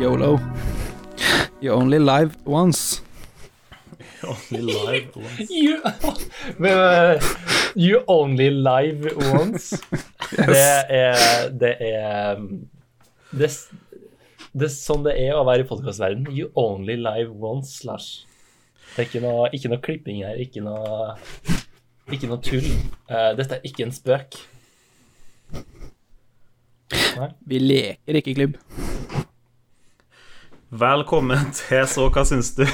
Yolo. You only live once. Only live once. You, Men, eh, you only live once. Det er Det er um, det, s- det er sånn det er å være i podkastverdenen. You only live once, Lars. Det er ikke noe, ikke noe klipping her, ikke noe, ikke noe tull. Eh, dette er ikke en spøk. Vi leker ikke klubb. Velkommen til Så hva syns du?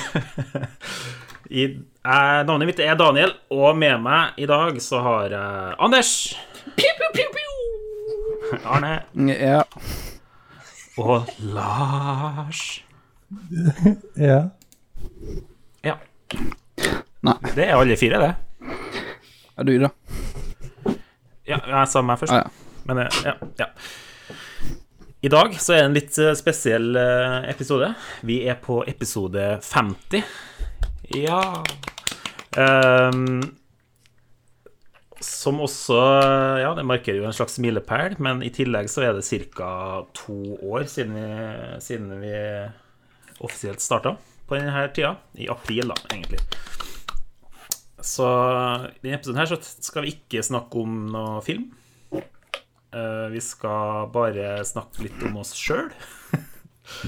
I, eh, navnet mitt er Daniel, og med meg i dag så har jeg Anders. Arne. Mm, Ja. Og Lars. Ja. Ja. Nei. Det er alle fire, det. Er du, da? Ja, jeg sa meg først. Ah, ja. Men eh, ja, ja. I dag så er det en litt eh, spesiell eh, episode. Vi er på episode 50. Ja Ehm, Som også eh, Ja, det markerer jo en slags milepæl, men i tillegg så er det ca. to år siden vi, siden vi offisielt starta på denne tida. I april, da, egentlig. Så i denne episoden her så skal vi ikke snakke om noe film. Eh, vi skal bare snakke litt om oss sjøl.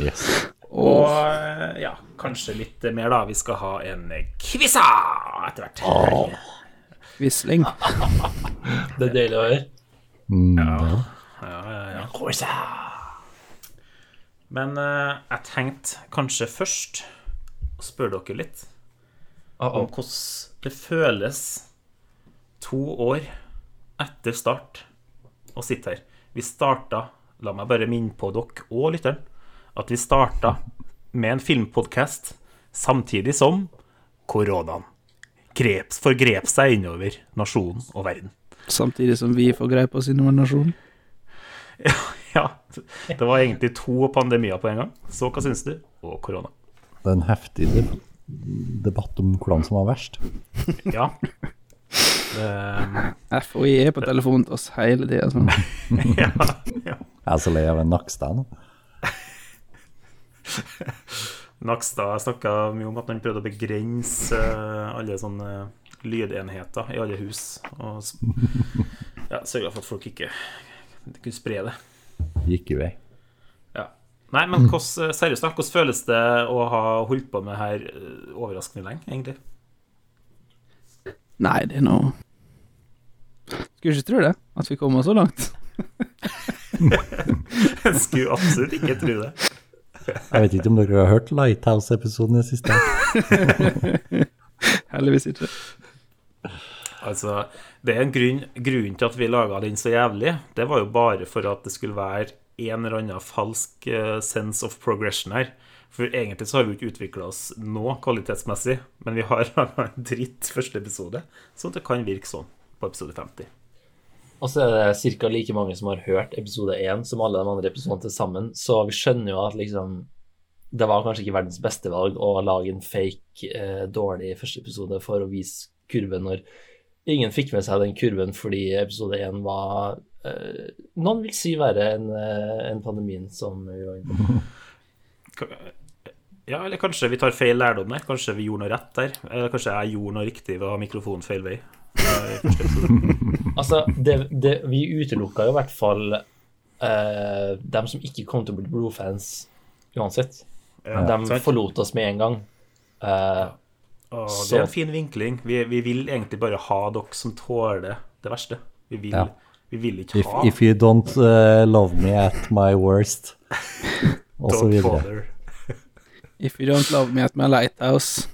Yes. Og Og eh, ja, kanskje litt mer, da. Vi skal ha en quiza etter hvert. Quisling. Det er deilig å høre. Ja, ja, ja. Men eh, jeg tenkte kanskje først å spørre dere litt Uh om hvordan det føles to år etter start å sitte her. Vi starta La meg bare minne på dere og lytteren at vi starta med en filmpodkast samtidig som koronaen greps, forgrep seg innover nasjonen og verden. Samtidig som vi får greie på sin nominasjon. Ja, det var egentlig to pandemier på en gang. Så hva syns du? Og korona. Det er en heftig deb- debatt om hvordan som var verst. Ja. Ehm, Det- FHI er på telefonen til oss hele tida. Sånn. ja, ja. Jeg er så lei av en Nakstad nå. Nakstad snakka mye om at han prøvde å begrense eh, alle sånne lydenheter i alle hus. Og s- ja, sørga for at folk ikke kunne spre det. Gikk jo jeg. Ja. Nei, men hvordan, eh, seriøst, da, hvordan føles det å ha holdt på med her eh, overraskende lenge, egentlig? Nei, det er noe Skulle ikke tro det, at vi kommer så langt. Jeg skulle absolutt ikke tro det. Jeg vet ikke om dere har hørt Lighthouse-episoden i det siste. Heldigvis ikke. Altså, det er en grunn, grunn til at vi laga den så jævlig. Det var jo bare for at det skulle være en eller annen falsk eh, sense of progression her. For egentlig så har vi jo ikke utvikla oss nå kvalitetsmessig, men vi har laga en dritt første episode, så det kan virke sånn på episode 50. Og så er det ca. like mange som har hørt episode 1 som alle de andre episodene til sammen, så vi skjønner jo at liksom Det var kanskje ikke verdens beste valg å lage en fake, eh, dårlig første episode for å vise kurven når ingen fikk med seg den kurven fordi episode 1 var eh, Noen vil si verre enn eh, enn pandemien som vi var inne på. Ka- eh, Ja, eller kanskje vi tar feil lærdom der. Kanskje vi gjorde noe rett der. Eller kanskje jeg gjorde noe riktig ved å ha mikrofonen feil vei. Altså, det, det, vi utelukka jo i hvert fall eh, dem som ikke kom til å bli blodfans uansett. De sant. forlot oss med en gang. Eh, Å, det Så- er en fin vinkling. Vi, vi vil egentlig bare ha dere som tåler det verste. Vi vil, Ja. vi vil ikke If, ha if you don't eh, love me at my worst, og så Don't videre. bother. If you don't love me at my lighthouse,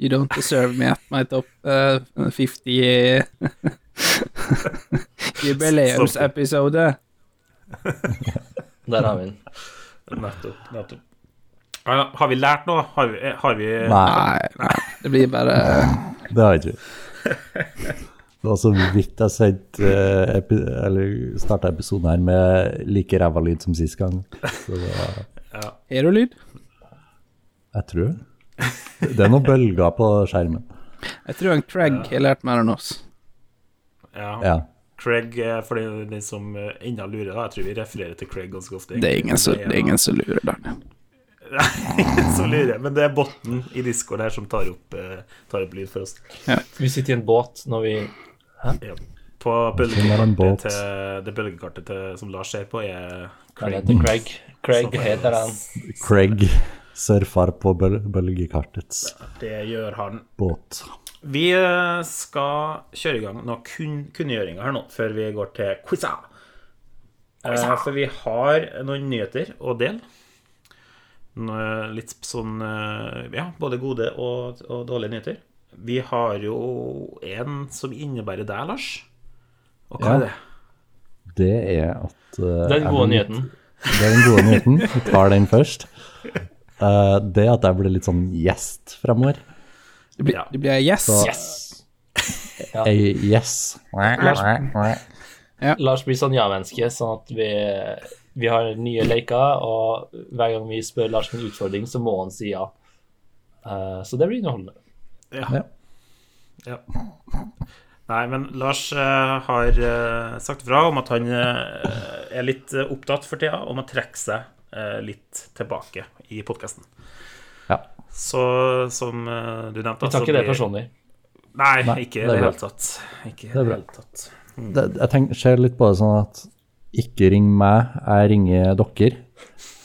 you don't deserve me at my top uh, 50 jubileumsepisode. der har vi den. Nettopp. nettopp. Ja, har vi lært noe? Har vi, eh, har vi Nei, Nei, nei, det blir bare det har jeg ikke. Det var så vidt jeg sendte eh, epi- Eller starta episoden her med like ræva lyd som sist gang. Så det var herolyd. Jeg tror det. Det er noen bølger på skjermen. Jeg tror han Craig har lært mer enn oss. ja. Ja. Craig, eh, for den, den som eh, ennå lurer, da. Jeg tror vi refererer til Craig ganske ofte. Det er egentlig. ingen som, Men det er ingen som lurer, Daniel. som lurer. Men det er botten i discoen her som tar opp, eh, tar opp lyd for oss. Vi sitter i en båt når vi Ja. På Det er en båt. bølgekartet, til, det bølgekartet til, som Lars ser på, er Craig. Craig. Heter Craig. Craig Så- heter han. Craig surfer på bøl bølgekartets Det gjør han. båt. Vi eh, skal kjøre i gang noen kun kunngjøringer her nå, før vi går til quiza. Eh, for vi har noen nyheter å dele. Nå, eh, Litt sånn eh, Ja, både gode og, og dårlige nyheter. Vi har jo en som innebærer deg, Lars. Og hva Ja. er det? Det er at eh, Den jeg gode ble- nyheten. Det er den gode nyheten. Vi tar den først. Eh, det at jeg blir litt sånn gjest fremover. Det blir, Ja. det blir yes. Så- Yes! Ei yes. Lars blir sånn ja-menneske, sånn at vi, vi har nye leker, og hver gang vi spør Lars om en utfordring, så må han si ja. Eh, så det blir underholdende. Ja. Ja. ja. Nei, men Lars eh, har eh, sagt fra om at han eh, er litt eh, opptatt for tida om å trekke seg eh, litt tilbake i podkasten. Ja. Så som eh, du nevnte Vi tar så ikke det blir- personlig. Nei, Nei, ikke i det er det bra. hele tatt. Ikke i er det bra. hele tatt. Det, jeg tenker, ser litt på det sånn at ikke ring meg, jeg ringer dere.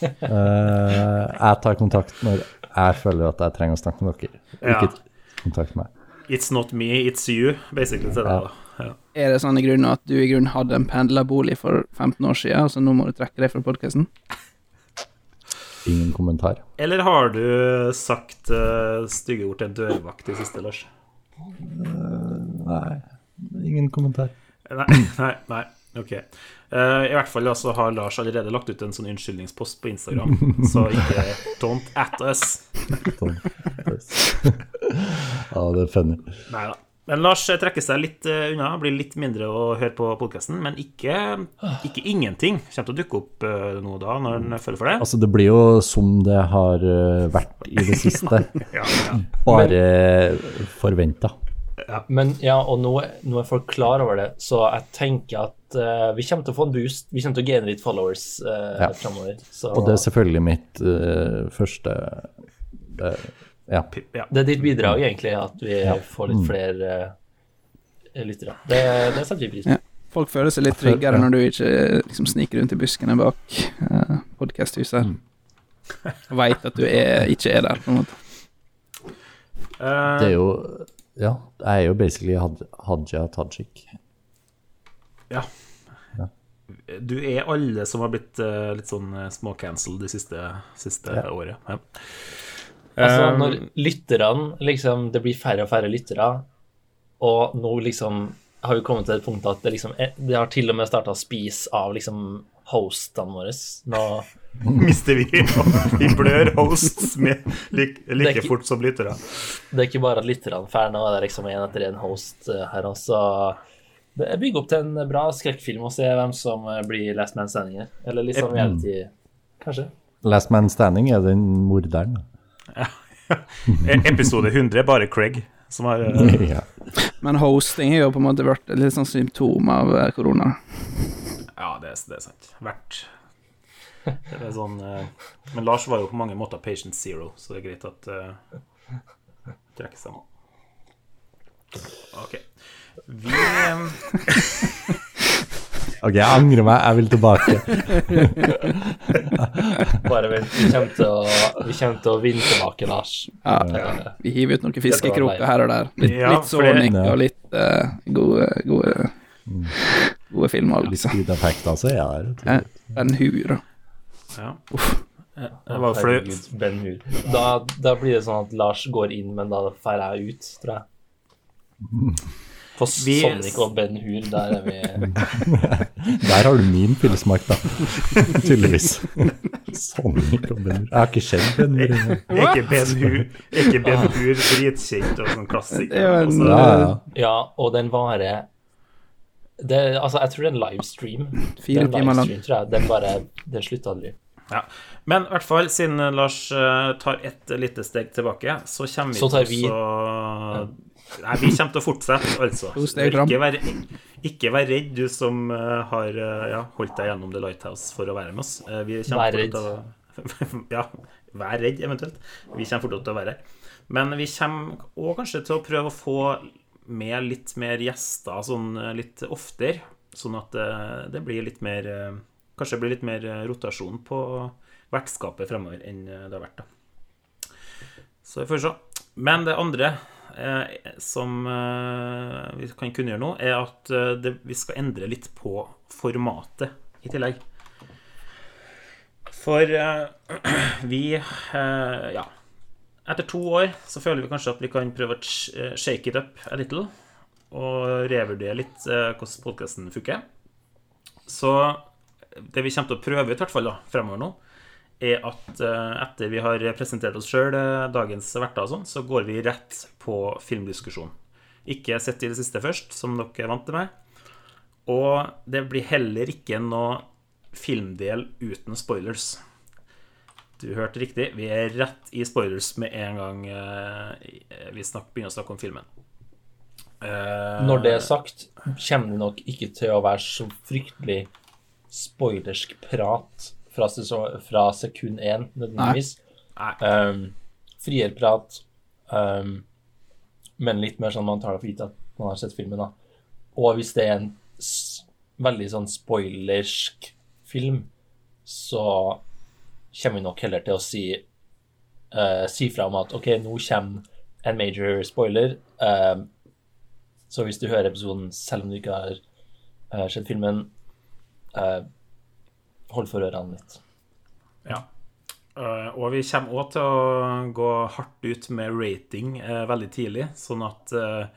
Eh, jeg tar kontakt når jeg føler at jeg trenger å snakke med dere. Ja. Ikke kontakt meg. It's not me, it's you, basically. Så er det, da. ja. Er det sånn i grunnen at du i grunnen hadde en pendlerbolig for 15 år siden, og så nå må du trekke deg fra podkasten? Ingen kommentar. Eller har du sagt eh, stygge ord til en dørvakt i siste, Lars? Nei, ingen kommentar. Nei, nei, nei. ok. Eh, I hvert fall da, så har Lars allerede lagt ut en sånn unnskyldningspost på Instagram. Så ikke don't at us. Sånn. ja, det er funny. Nei da. Men Lars trekker seg litt eh, unna, blir litt mindre å høre på podkasten. Men ikke, ikke ingenting kommer til å dukke opp eh, nå da, når han føler for det. Altså, det blir jo som det har eh, vært i det siste. Ja, ja, Bare forventa. Men ja, og nå, nå er folk klar over det, så jeg tenker at eh, vi kommer til å få en boost. Vi kommer til å gaine litt followers eh, Ja. fremover. Så Og det det, er selvfølgelig mitt eh, første eh, Ja. pip, ja. er ditt bidrag, egentlig, at vi får litt flere eh, lyttere. Det, det setter vi pris på. Ja. Folk føler seg litt Jeg føler- tryggere ja. når du ikke liksom sniker rundt i buskene bak uh, podkasthuset her. Veit at du er, ikke er der, på en måte. Eh, Det er jo Ja, jeg er jo basically Had Hadia Tajik. ja. Du er alle som har blitt eh, litt sånn eh, småcancelled det siste, siste året. Ja. Altså, Eh, når lytterne liksom Det blir færre og færre lyttere, og nå liksom har vi kommet til et punkt at det liksom er- Det har til og med starta spis av liksom hostene våre. Nå mister vi. Vi blør hosts med like, Det er like ikke- fort som lyttere. Det er ikke bare at lytterne drar nå, det er liksom en etter en host eh, her også. Det er bygd opp til en bra skrekkfilm å se hvem som eh, blir Last Man Standing her. Eller liksom reality, kanskje. Last Man Standing er den morderen. E, Episode 100 er bare Craig som har eh, ja. Men hosting er jo på en måte vært et litt sånn symptom av eh, korona. Ja, det er, det er sant. Vært det er sånn, eh, Men Lars var jo på mange måter patient zero, så det er greit at uh, trekker seg nå. OK. Vi eh, OK, jeg angrer meg. Jeg vil tilbake. Bare vent, vi kommer til å, vi kommer til å vinne tilbake, Lars. Ja, Vi hiver ut noen fiskekroker her og der. Litt, Ja, litt for det- Sonic og litt eh, gode, gode, gode filmer, Litt liksom. speed effect, altså. Jeg er det. Ja, Ben Hur og Ja. Eh, Det var flaut. Herregud, Ben Hur. Da, da blir det sånn at Lars går inn, men da drar jeg ut, tror jeg. På Vi- Sonic og Ben Hur, der er vi Der har du min pillesmak, da. Tydeligvis. Sånn ikke om den. Jeg har ikke kjent den. Rune. Er ikke Ben Hur, er ikke ben Hur dritkjent og sånn klassiker? Det er jo en- Også- Ja, ja. Ja, og den varer det, Altså, jeg tror det er en livestream. Fire Den timer lang. livestream, tror jeg. Den bare Den slutter aldri. Ja. Men i hvert fall, siden eh, Lars eh, tar et lite steg tilbake, så kommer vi Så tar vi- til å Nei, vi kommer til å fortsette, altså. To steg fram. Ikke vær, ikke vær redd, du som eh, har eh, ja, holdt deg gjennom The Lighthouse for å være med oss. Eh, Vi Vær kommer til å Ja, Vær redd, eventuelt. Vi kommer fortsatt til å være her. Men vi kommer òg kanskje til å prøve å få med litt mer gjester sånn eh, litt oftere. Sånn at eh, det blir litt mer eh, Kanskje det blir litt mer eh, rotasjon på vertskapet fremover enn eh, det har vært, da. Så vi får se. Men det andre eh, som eh, vi kan kunngjøre nå, er at eh, det, vi skal endre litt på formatet i tillegg. For eh, vi eh, Ja. Etter to år så føler vi kanskje at vi kan prøve å sh- eh, shake it up a little. Og revurdere litt eh, hvordan podkasten funker. Så det vi kommer til å prøve ut, i hvert fall da, fremover nå, er at eh, etter vi har presentert oss sjøl, dagens verter og sånn, så går vi rett på filmdiskusjon. Ikke sett i det siste først, som dere er vant til meg. Og det blir heller ikke noe filmdel uten spoilers. Du hørte riktig. Vi er rett i spoilers med en gang eh, vi snak, begynner å snakke om filmen. Eh, Når det er sagt, kommer det nok ikke til å være så fryktelig spoilersk prat fra, sesong, fra sekund én, nødvendigvis. Nei. Um, friere prat, um, men litt mer sånn man tar det for gitt at man har sett filmen, da. Og hvis det er en s veldig sånn spoilersk film, så kommer vi nok heller til å si eh, Si fra om at OK, nå kommer en major spoiler. Um, så hvis du hører episoden selv om du ikke har eh, sett filmen, eh, hold for ørene litt. Ja. Eh, Og vi kommer òg til å gå hardt ut med rating eh, veldig tidlig, sånn at eh,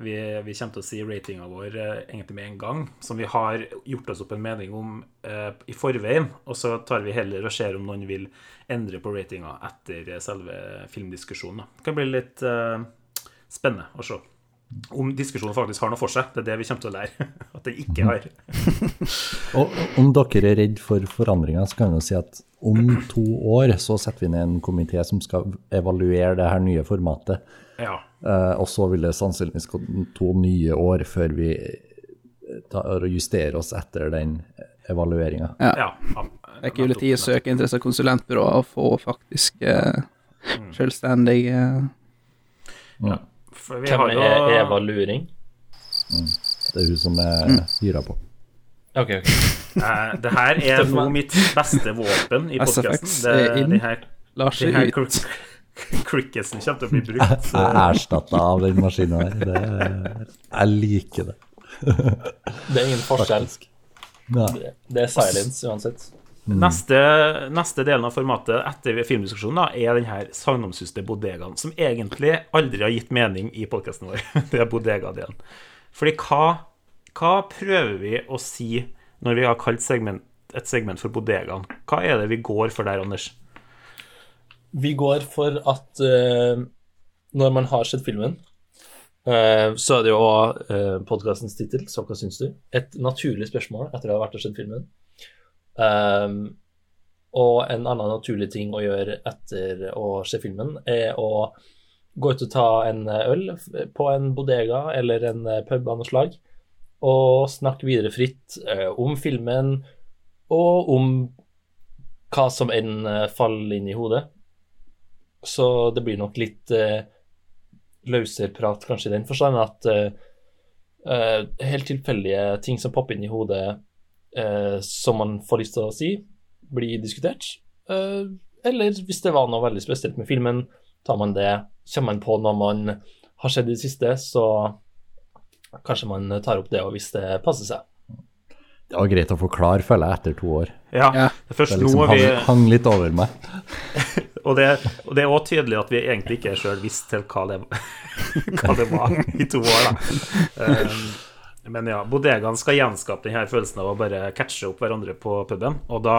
vi, vi kommer til å si ratinga vår eh, egentlig med en gang, som vi har gjort oss opp en mening om eh, i forveien, og så tar vi heller og ser om noen vil endre på ratinga etter eh, selve filmdiskusjonen. Da. Det kan bli litt eh, spennende å se om diskusjonen faktisk har noe for seg. Det er det vi kommer til å lære at den ikke har. Og om dere er redd for forandringer, så kan vi jo si at om to år så setter vi ned en komité som skal evaluere det her nye formatet. Ja. Eh, og så vil det sannsynligvis gå to nye år før vi tar og justerer oss etter den evalueringa. ja, ja. Det er kule tid å søke interesse av konsulentbyråer og få faktisk eh, selvstendige For vi Hvem har jo er Eva Luring? Det er hun som er hyra på. Ok, ok. Eh, Det her er nå mitt beste våpen i podkasten. SFX Det er er inn. de her, Lars de her ut. crick- cricketsen kommer til å bli brukt. Jeg er erstatta av den maskina her. Det er, jeg liker det. Det er ingen forskjell. Ja. Det er silence uansett. Mm. Neste, neste delen av formatet etter filmdiskusjonen da, er den her sagnomsuste bodegaen, som egentlig aldri har gitt mening i podkasten vår. Det er bodegadelen. Fordi hva, hva prøver vi å si når vi har kalt segment, et segment for bodegaen? Hva er det vi går for der, Anders? Vi går for at eh, når man har sett filmen, eh, så er det jo uh, podkastens tittel, så hva syns du? Et naturlig spørsmål etter å ha vært og sett filmen. Um, og en annen naturlig ting å gjøre etter å se filmen, er å gå ut og ta en øl på en bodega eller en eh, pub av noe slag, og snakke videre fritt eh, om filmen og om hva som enn eh, faller inn i hodet. Så det blir nok litt eh, løsere prat, kanskje i den forstand at eh, eh, helt tilfeldige ting som popper inn i hodet eh, som man får lyst til å si, blir diskutert. Eh, eller hvis det var noe veldig spesielt med filmen, tar man det. Kommer man på noe man har sett i det siste, så kanskje man tar opp det og hvis det passer seg. Det var greit å forklare, føler jeg, etter to år. Ja, Ja, det først Det nå liksom vi hang, hang litt over meg. Og det, og det er òg tydelig at vi egentlig ikke sjøl visste helt hva det, hva det var i to år, da. Um, men ja, bodegaen skal gjenskape denne følelsen av å bare catche opp hverandre på puben. Og da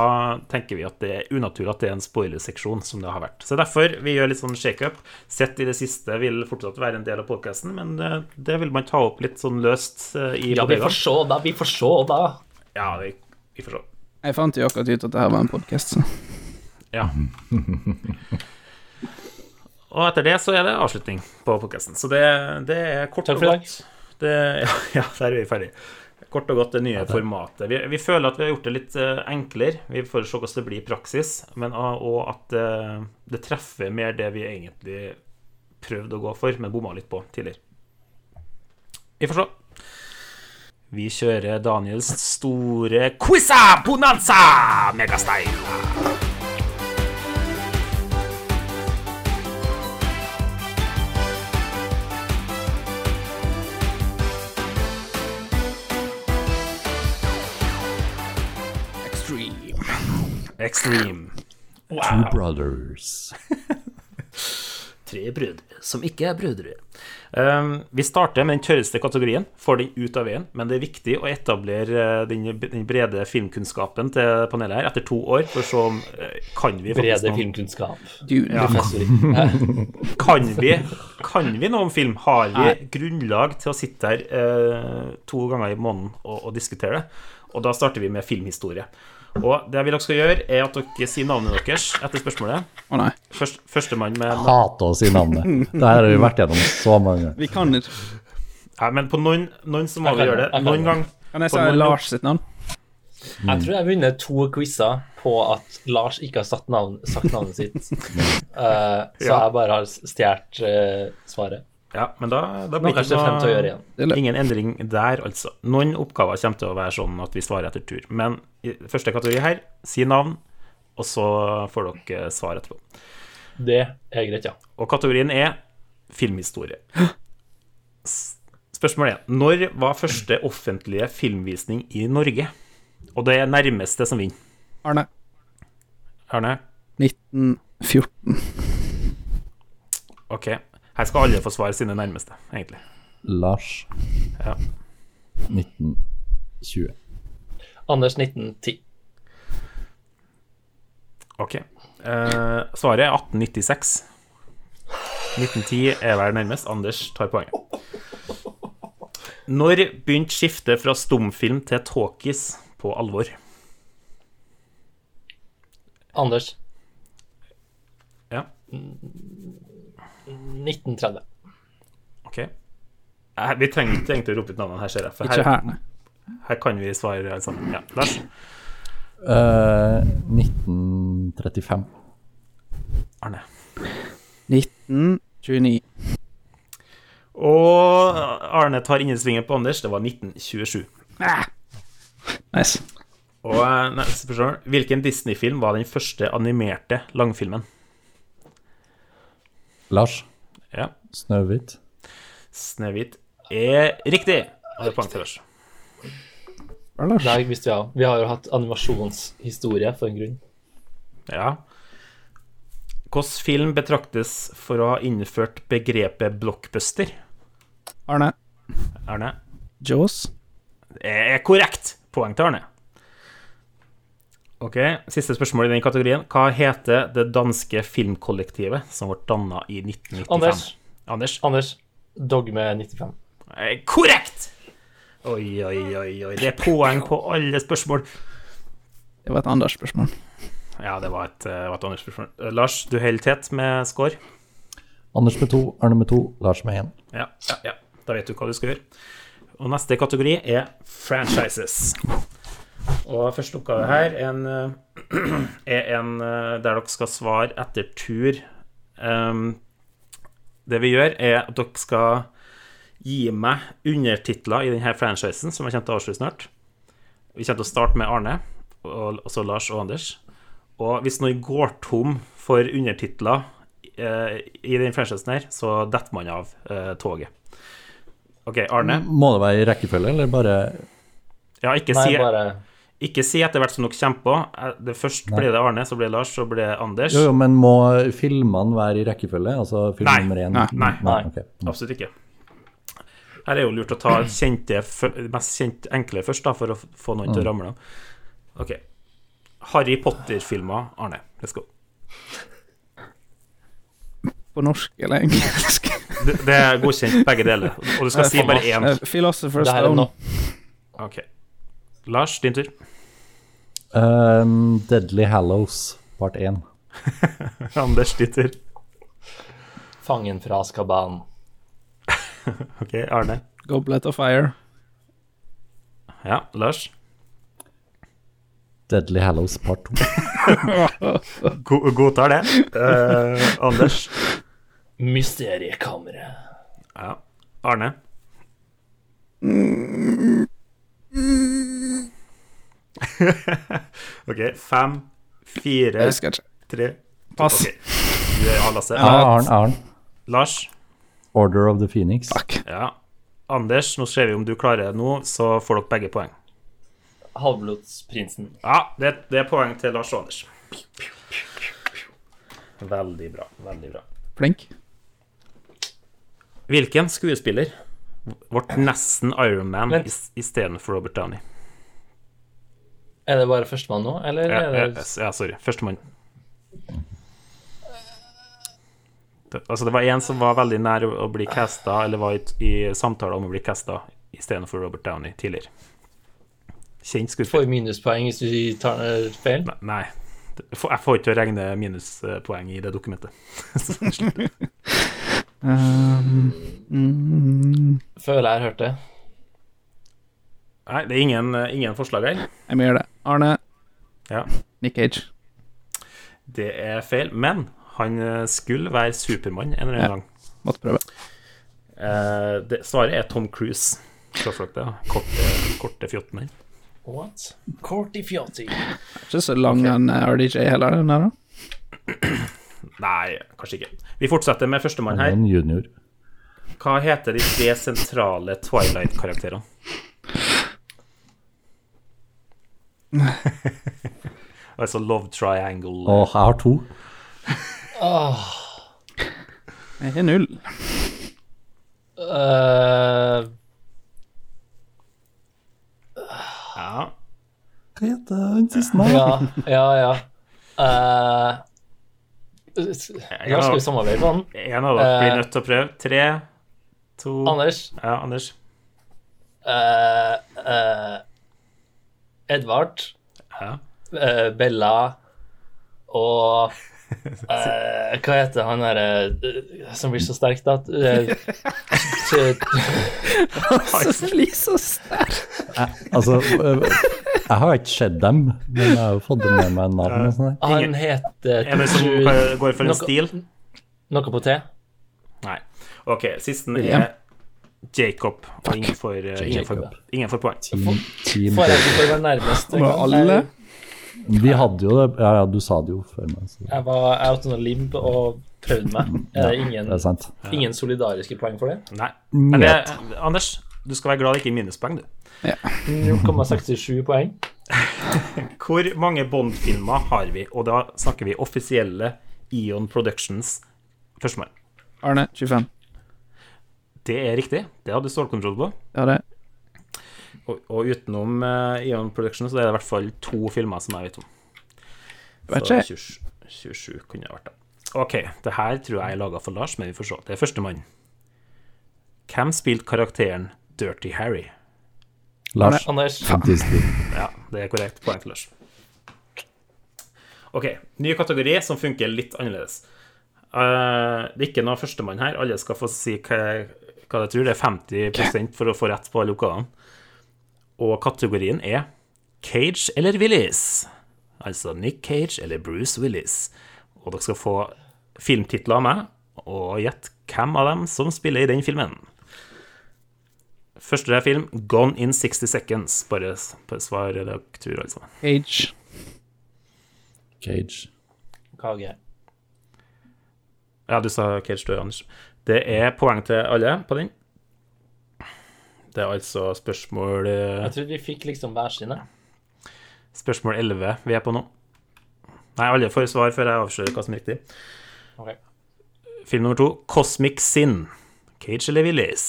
tenker vi at det er unaturlig at det er en spoilerseksjon, som det har vært. Så derfor, vi gjør litt sånn shakeup. Sett i det siste vil fortsatt være en del av podkasten, men eh, det vil man ta opp litt sånn løst eh, i Ja, vi får bodegaen. se da, vi får se da. Ja, vi, vi får se. Jeg fant jo akkurat ut at det her var en podkast, så Ja. Og etter det så er det avslutning på podkasten. Så det, det er kort Takk og for i dag. godt. Det, ja, ja, der er vi ferdige. Kort og godt det nye formatet. Vi, vi føler at vi har gjort det litt eh, enklere. Vi får se hvordan det blir i praksis, men, ah, og at eh, det treffer mer det vi egentlig prøvde å gå for, men bomma litt på tidligere. Vi får se. Vi kjører Daniels store quiza bonanza megastein. Extreme. Extreme. Two brothers. Tre brødre som ikke er brødre. Um, vi starter med den tørreste kategorien, får den ut av veien. Men det er viktig å etablere eh, den, den brede filmkunnskapen til panelet her etter to år, for så eh, kan vi faktisk Brede noe- filmkunnskap. Du, Professor i- Kan vi, kan vi noe om film? Har vi grunnlag til å sitte her eh, to ganger i måneden og, og diskutere det? Og da starter vi med filmhistorie. Og det jeg vil dere skal gjøre, er at dere sier navnet deres etter spørsmålet. Å nei. Først, Førstemann med navn. Hate å si navnet. Det her har vi vært gjennom så mange ganger. Vi kan ikke Nei, men på noen, noen så må vi gjøre det. Noen gang. Kan jeg På si noen- Lars sitt navn? Jeg tror jeg har vunnet to quizer på at Lars ikke har satt navn, sagt navnet sitt. Eh, så Ja. jeg bare har stjålet eh, svaret. Ja, men da, Nå da blir det kanskje frem til å gjøre ikke igjen. Det er noe lett. Ingen endring der, altså. Noen oppgaver kommer til å være sånn at vi svarer etter tur. Men i første kategori her, si navn, og så får dere eh, svar etterpå. Det er greit, ja. Og kategorien er filmhistorie. S- Spørsmålet er når var første offentlige filmvisning i Norge? Og det er nærmeste som vinner. Arne. Arne? 1914. Ok. Her skal alle få svare sine nærmeste, egentlig. Lars. Ja. 1920. Anders 1910. Ok. Eh, svaret er 1896. 1910 er vel nærmest. Anders tar poenget. Når begynte skiftet fra stumfilm til talkies på alvor? Anders Ja. 1930. Ok. Eh, Vi trenger ikke egentlig å rope ut navnene her, ser jeg. For Ikke her, her, nei. her kan vi svare alle sammen. Ja, Lars. Eh, 1935. Arne. 1929. Og eh, Arne tar innersvingen på Anders. Det var 1927. Ah! Nice. Og eh, neste spørsmål. Hvilken Disney-film var den første animerte langfilmen? Lars. Ja, Snøhvit. Snehvit er riktig. Og det er poeng til Lars. Bra, Lars. Der visste vi av. Vi har jo hatt animasjonshistorie for en grunn. Ja. Hvilken film betraktes for å ha innført begrepet blockbuster? Arne. Arne? Jaws. er korrekt. Poeng til Arne. Ok, Siste spørsmål i den kategorien. Hva heter det danske filmkollektivet som ble danna i 1995? Anders. Anders. Anders. Dogme 95. Eh, Korrekt! Oi, oi, oi, oi. Det er poeng på alle spørsmål. Det var et Anders-spørsmål. Ja, det var et, eh, var et Anders-spørsmål. Eh, Lars, du holder tett med score. Anders med to, Arne med to, Lars med én. Ja, ja, ja. Da vet du hva du skal gjøre. Og neste kategori er franchises. Og første oppgave her er en, eh, er en eh, der dere skal svare etter tur. Ehm, det vi gjør, er at dere skal gi meg undertitler i denne franchisen, som jeg kommer til å avslutte snart. Vi kommer til å starte med Arne, og og så Lars og Anders. Og hvis noen går tom for undertitler eh, i den franchisen her, så detter man av eh, toget. OK, Arne. Må det være i rekkefølge, eller bare Ja, ikke Nei, si, bare ikke si etter hvert som dere kommer på. Eh, Det først blir det Arne, så blir det Lars, så blir det Anders. Jo, jo, men må filmene være i rekkefølge? Altså film Nei, nummer én? nei, nei, nei. ok. Absolutt ikke. Her er jo lurt å ta kjente, fø- de mest kjente enkle først, da, for å f- få noen til å ramle av. OK. Harry Potter-filmer, Arne. Let's go. På norsk eller engelsk? Det, det er godkjent, begge deler. Og du skal si bare én. Eh, Philosopher's Det her er Stone. nå. OK. Lars, din tur. Um, Deadly Hallows, part én. Anders, din tur. Fangen fra Azkaban. OK, Arne. Goblet of Fire. Ja, Lars? Deadly Hallows part 2. Go godtar det. Eh, Anders? Mysteriekammeret. Ja. Arne? OK. Fem, Jeg fire, husker ikke. tre Pass. Ok. Du er A, Lasse. Ja, Arn, Arn. Lars? Order of the Phoenix. Fuck. Ja. Anders, nå ser vi om du klarer det nå, så får dere begge poeng. Halvblodsprinsen. Ja, det, det er poeng til Lars og Anders. Veldig bra. Veldig bra. Flink. Hvilken skuespiller vårt nesten Iron Man Vent. is- istedenfor Robert Downey? Er det bare førstemann nå, eller Ja, ja, er det ja, sorry. Førstemann. Det- Altså, det var en som var veldig nær å å bli casta, eller var i, i samtaler om å bli casta, istedenfor Robert Downey tidligere. Kjent Får skuespiller. vi minuspoeng hvis du tar eh, feil? Nei, Nei. Det- Jeg får jeg får ikke til å regne minuspoeng i det dokumentet. Føler jeg har hørt det. Nei, det er ingen, ingen forslag her. Jeg må gjøre det. Arne. Ja. Nick Cage. Det er feil. Men han eh, skulle være Supermann en eller annen Ja. gang. Måtte prøve. Eh, det, svaret er Tom Cruise. Sjølsagt det. da. Korte, korte fjotten her. What? Corti Fiotti. Ikke så lang han eh, RDJ heller, den der, da. Nei, kanskje ikke. Vi fortsetter med førstemann her. En junior. Hva heter de tre sentrale Twilight-karakterene? altså Love Triangle Og jeg har to. Jeg har null. Eh, ja. Hva heter den siste nå? ja, ja, ja. Eh, Lars, skal vi samarbeide på den? En av dere blir Eh. nødt til å prøve. Tre, to Anders? Ja, Anders. eh, eh, Edvard, Ja. eh, Bella og eh, Hva heter han derre som blir så sterk, da? Eh, t- Så blir så sterk. Altså, øh, jeg har ikke sett dem, men jeg har jo fått dem med meg navn og sånn. der. han heter En som Tru- går for en Noe- stil? Noe på T. Nei. OK, sisten William. er Jacob. Og ingen får, eh, ingen får, Jacob. ingen får poeng. Team, team. Får jeg ikke for å være nærmest? Var alle Vi hadde jo det Ja, ja, du sa det jo før meg. Så. Jeg var out on a limb og prøvde meg. Er det ingen, Det er sant. ingen solidariske poeng for det? Nei. Men det, Anders, du skal være glad det ikke er minuspoeng, du. 0,67 poeng. Hvor mange Bond-filmer har vi? Og da snakker vi offisielle Eon Productions. Førstemann. Arne, 25. Det er riktig. Det hadde du stålkontroll på. Ja, det. Og, og utenom eh, Eon Productions så er det i hvert fall to filmer som jeg vet om. Vet Så ikke. 27, 27 kunne det vært det. OK, det her tror jeg er laga for Lars, men vi får se. Det er førstemann. Hvem spilte karakteren Dirty Harry? Lars. Anders. Fantastisk. Ja, det er korrekt. Poeng til Lars. OK. Ny kategori som funker litt annerledes. Eh, det er ikke noe førstemann her. Alle skal få si hva, hva de tror. Det er 50 for å få rett på alle oppgavene. Og kategorien er Cage eller Willis. Altså Nick Cage eller Bruce Willis. Og dere skal få filmtitler av meg, og gjett hvem av dem som spiller i den filmen. Første film, Gone in 60 Seconds. Bare, bare svar eller tur, altså. Cage. Cage. Kage. Ja, du sa Cage Dør, Anders. Det er poeng til alle på den. Det er altså spørsmål eh, Jeg trodde vi fikk liksom hver sine. Spørsmål 11 vi er på nå. Nei, alle får svar før jeg avslører hva som er riktig. Ok. Film nummer to, Cosmic Sin. Cage eller Willis?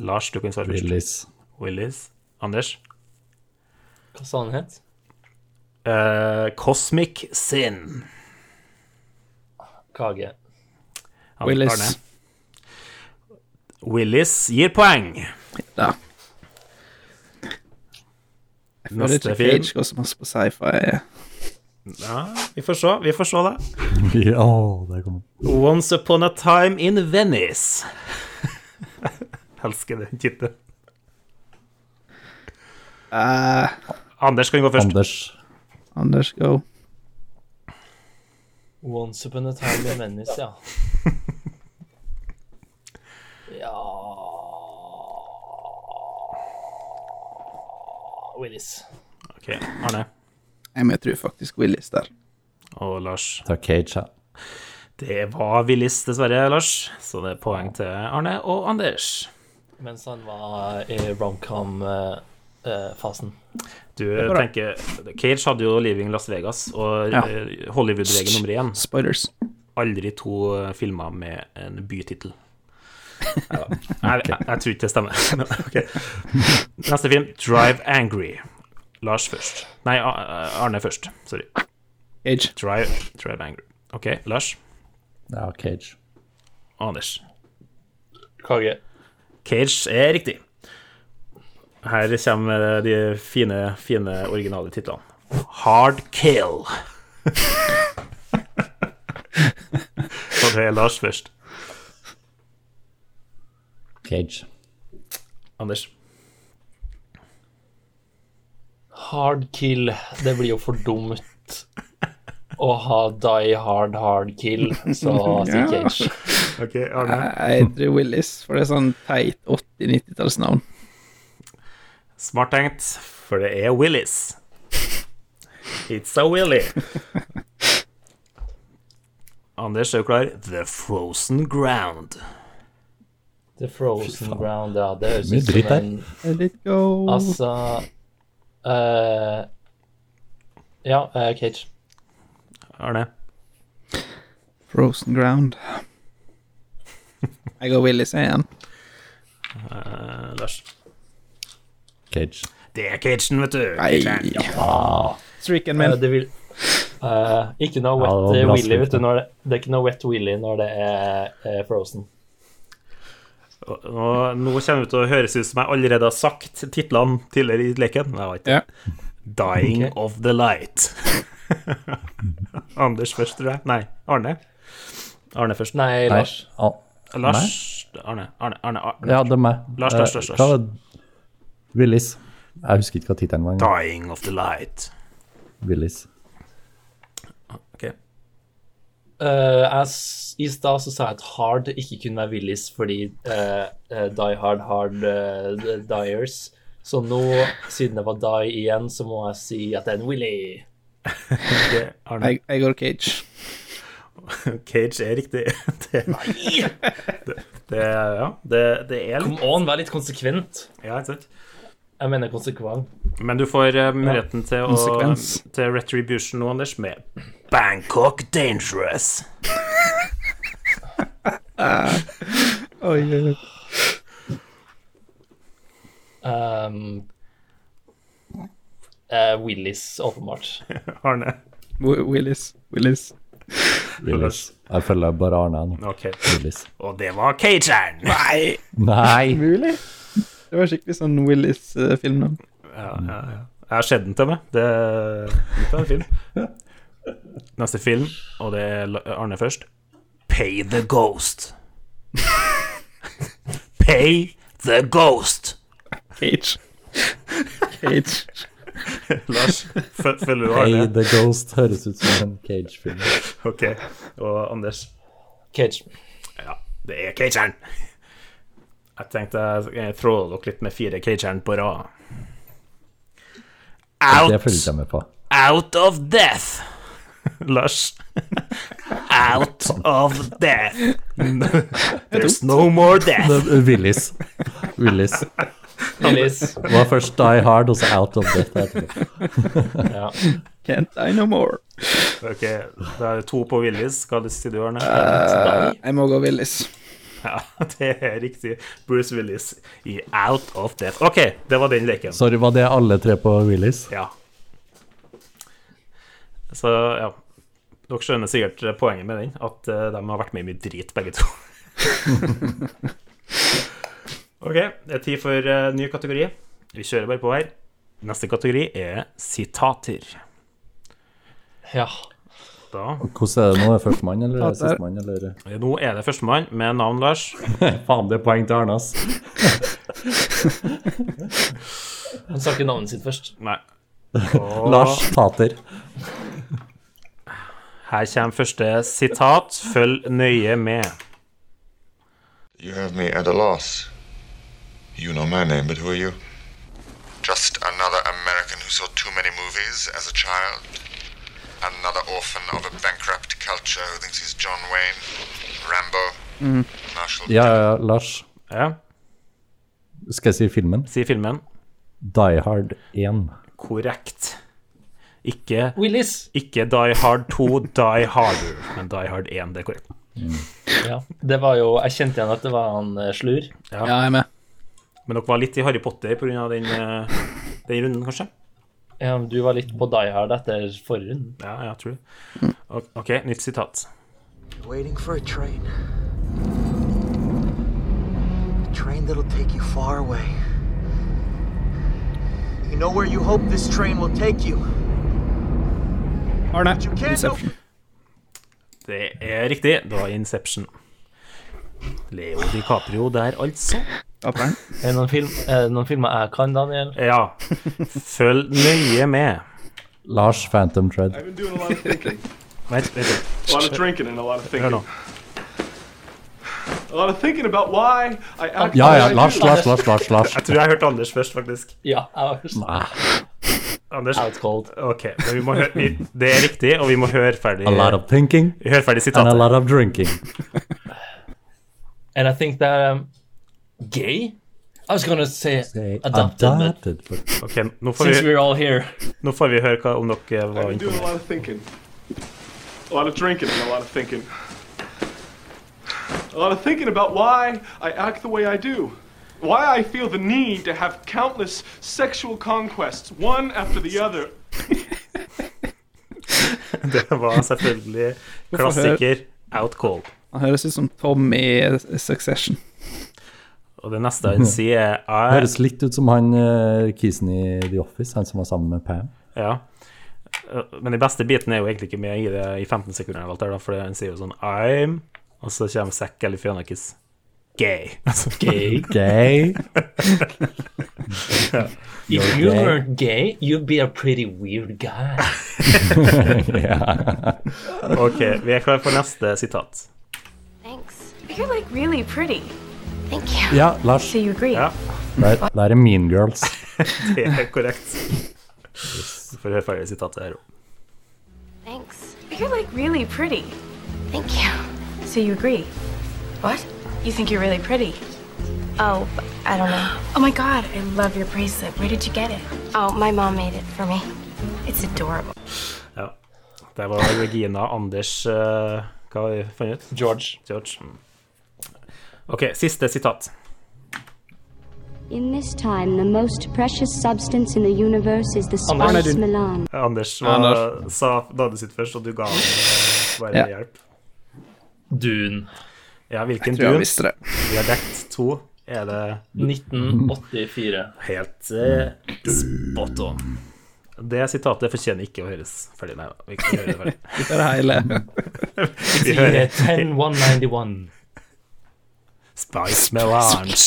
Lars, du kan svare først. Willis. Willis. Anders? Hva sa han het? Eh, Cosmic Sin. Kage. Arne. Willis. Willis gir poeng. Da. Jeg føler Neste ikke film. Cage går så masse på sci-fi. Ja, vi får se. Vi får se det. Ja, der kom den. Once Upon a Time in Venice. Elsker den tittelen. Eh, Anders kan gå først. Anders. Anders, go. Once upon a time in Venice, ja. Ja Willis. Ok, Arne Jeg må tro faktisk Willis der. og Lars. Ta Cage, ja. Det var Willis, dessverre, Lars. Så det er poeng til Arne og Anders. Mens han var i eh, romcom-fasen. Du tenker Cage hadde jo 'Leaving Las Vegas' og Ja. eh, Hollywood-regel nummer én. Spoilers. Aldri to eh, filmer med en bytittel. Nei, jeg, jeg, jeg tror ikke det stemmer. Men, ok. Neste film, 'Drive Angry'. Lars først. Nei, Ar- Arne først. Sorry. Age. Drive, drive Angry. OK, Lars Ja, Cage. og Anders. Kage. Cage er riktig. Her kommer de fine, fine originale titlene. Hard Kill. OK, Lars først. Cage. Anders. Hard kill. Det blir jo for dumt å ha die hard, hard kill, så sier Ja. Cage. OK, Arne. Jeg tror Willis, for det er sånn teit 80-90-tallsnavn. Smart tenkt, for det er Willis. It's a Willy. Anders, er du klar? The Frozen Ground. The Frozen Ground, ja. Det høres Mye ut dritt som her. en Let it go. Altså eh, Ja, eh, Cage. Arne. Frozen ground. Jeg går Willis jeg, igjen. eh, Lars. Cage. Det er Cajun, vet du. Cajun, ja. Nei. Streaken min. Eh, det vil, eh, ikke noe Ja, wet det var bra willy, vet du. spilt, Når det, det er ikke noe wet willy når det er eh, Frozen. Og Nå, nå kommer det til å høres ut som jeg allerede har sagt titlene tidligere i leken. Nei, det var ikke. Ja. Dying Ok. of the Light. Anders først, tror jeg. Nei, Arne. Arne først. Nei, Nei. Lars. Al Lars. Arne. Arne. Arne. Arne. ja, det er meg. Lars, Lars, Lars, Eh, Lars. Hva var Willis. Jeg husker ikke hva tittelen var. engang. Dying of the Light. Willis. Ok. Eh, jeg s- I stad så sa jeg at Hard ikke kunne være Willis fordi eh, eh, Die Hard Hard eh, the Diers. Så nå, siden det var Die igjen, så må jeg si at det er en Willy. Det, Arne. Jeg, jeg går Cage. Cage er riktig. Det, det, ja, det, det er Kom litt on, vær litt konsekvent. ja, ikke sant? Jeg mener konsekvent. Men du får eh, muligheten til, å, Konsekvens. til retribution nå, Anders, med Bangkok Dangerous. Oi, oi, oi. Um, eh, Willis, åpenbart. Arne. Wi- Willis. Willis. Willis. Jeg følger bare Arne nå. Ok. Willis. Og det var Cajern. Nei! Nei! Mulig? Det var skikkelig sånn Willis-filmnavn. Ja, ja, ja. Jeg har sett den til meg. Det dette er en film. Neste film, og det er La- Arne først. Pay the Ghost. Pay the Ghost. Cage. Cage. Lars, fø- følger du Hey, Arne? The Ghost høres ut som en Cage-film. Ok, og Anders Cage. Ja, det er cageren Jeg tenkte jeg tråler dere litt med fire cageren på rad Det Out, følger ikke jeg med på. out of death Lars Out of death There's no more death Det- Willis. Willis. Willis. Det var først Die Hard og så Out of Death. etterpå. Ja. Can't I no more. Ok, da er det to på Willis Hva sier du, Arne? Eh, jeg må gå Willis. Ja, det er riktig Bruce Willis i Out of Death Ok, det var den leken Sorry, var det alle tre på Willis? Ja. Så ja. Dere skjønner sikkert poenget med den, at eh, de har vært med i mye drit, begge to. ok, det er tid for eh, ny kategori. Vi kjører bare på her. Neste kategori er sitater. ja. Da, Hvordan er det nå? Er det Førstemann eller Ja, der. sistemann? Eller? nå er det førstemann med navn Lars. Faen, det er poeng til Arne, ass. Han sa ikke navnet sitt først. Nei. Lars Tater. Her kommer første sitat. Følg nøye med. You have me at a loss. You know my name, but who are you? Just another American who saw too many movies as a child. Another orphan of a bankrupt culture who thinks he's John Wayne, Rambo, Marshall. Ja, ja, ja, Lars. Ja, Skal jeg si filmen? si filmen. Die Hard 1. Korrekt. Ikke, Willis! ikke Die Hard 2, Die Harder, men Die Hard 1. Det er korrekt. Ja, det var jo Jeg kjente igjen at det var han eh, Slur. Ja, jeg er med. Men dere var litt i Harry Potter pga. den, eh, den runden, kanskje? Ja, men Du var litt på Die Hard etter forrige runde. Ja, jeg tror det. Ok, OK, nytt sitat. Waiting for a train. A train that'll take you far away. You know where you hope this train will take you. Arne. You can't know Inception. Det er riktig. Det var Inception. Leo DiCaprio der, altså. Taper den. Er det noen, film, er det noen filmer jeg kan, Daniel? Ja. Følg nøye med. Lars Phantom Tread. I've been doing a lot of thinking, Vent, vent litt. a lot of drinking, and a lot of Hør thinking. nå. A lot of thinking about why I act. Ja, the ja, way I Lars, do. Lars, Lars, Lars. Lars. Ah, Jeg tror jeg hørte Anders først, faktisk. Ja. jeg var Anders. Out cold. Ok, men vi må høre, vi, det er riktig, og vi må høre ferdig, A lot of thinking høre ferdig and a sitatet. lot of drinking. And I think that um, Gay? I was gonna say adopted, but Adopted. but- Ok, nå får, since vi, we're all here nå får vi høre hva, om dere I've var been doing a imponert. lot of thinking, a lot of drinking, and a lot of thinking. A lot of thinking about why I act the way I do. Why I feel the need to have countless sexual conquests, one after the other. Det var selvfølgelig klassiker Out Cold. Han høres ut som Tom i Succession. Og det neste han sier er Høres litt ut som han eh, kisen i The Office, han som var sammen med Pam. Ja. Men den beste biten er jo egentlig ikke med i det i 15 sekunder, eller alt der, da, for han sier jo sånn I'm Og så kommer Zack eller Fjonakis. Gay. Altså, Gay? Gay. If you gay. weren't gay, you'd be a pretty weird guy. Ja. OK, vi er klar for neste sitat. Thanks. You're like really pretty. Thank you. ja, Lars. So you agree? Ja. Der, der er Mean Girls. Det er korrekt. Vi får høre ferdig sitatet her òg. Thanks. You're like really pretty. Thank you. So you agree? What? You think you're really pretty? Oh, I don't know. Oh my god, I love your bracelet. Where did you get it? Oh, my mom made it for me. It's adorable. Ja. Der var Regina, Anders eh, Hva har vi funnet ut? George. George. Mm. OK, siste sitat. In this time, the most precious substance in the universe is the Anders. spice Milan. Anders, Ja, var, Anders. sa Dade sitt først, og du ga ham eh, bare Ja. hjelp. Dune. Ja, hvilken Tror jeg dun? visste det. Vi har dekt to. Er det 1984. helt eh, spot on? Det sitatet fortjener ikke å høres ferdig. Nei da, vi kan høre det ferdig. Vi tar det hele. Vi Yeah, hører 10 191. Spice Melange.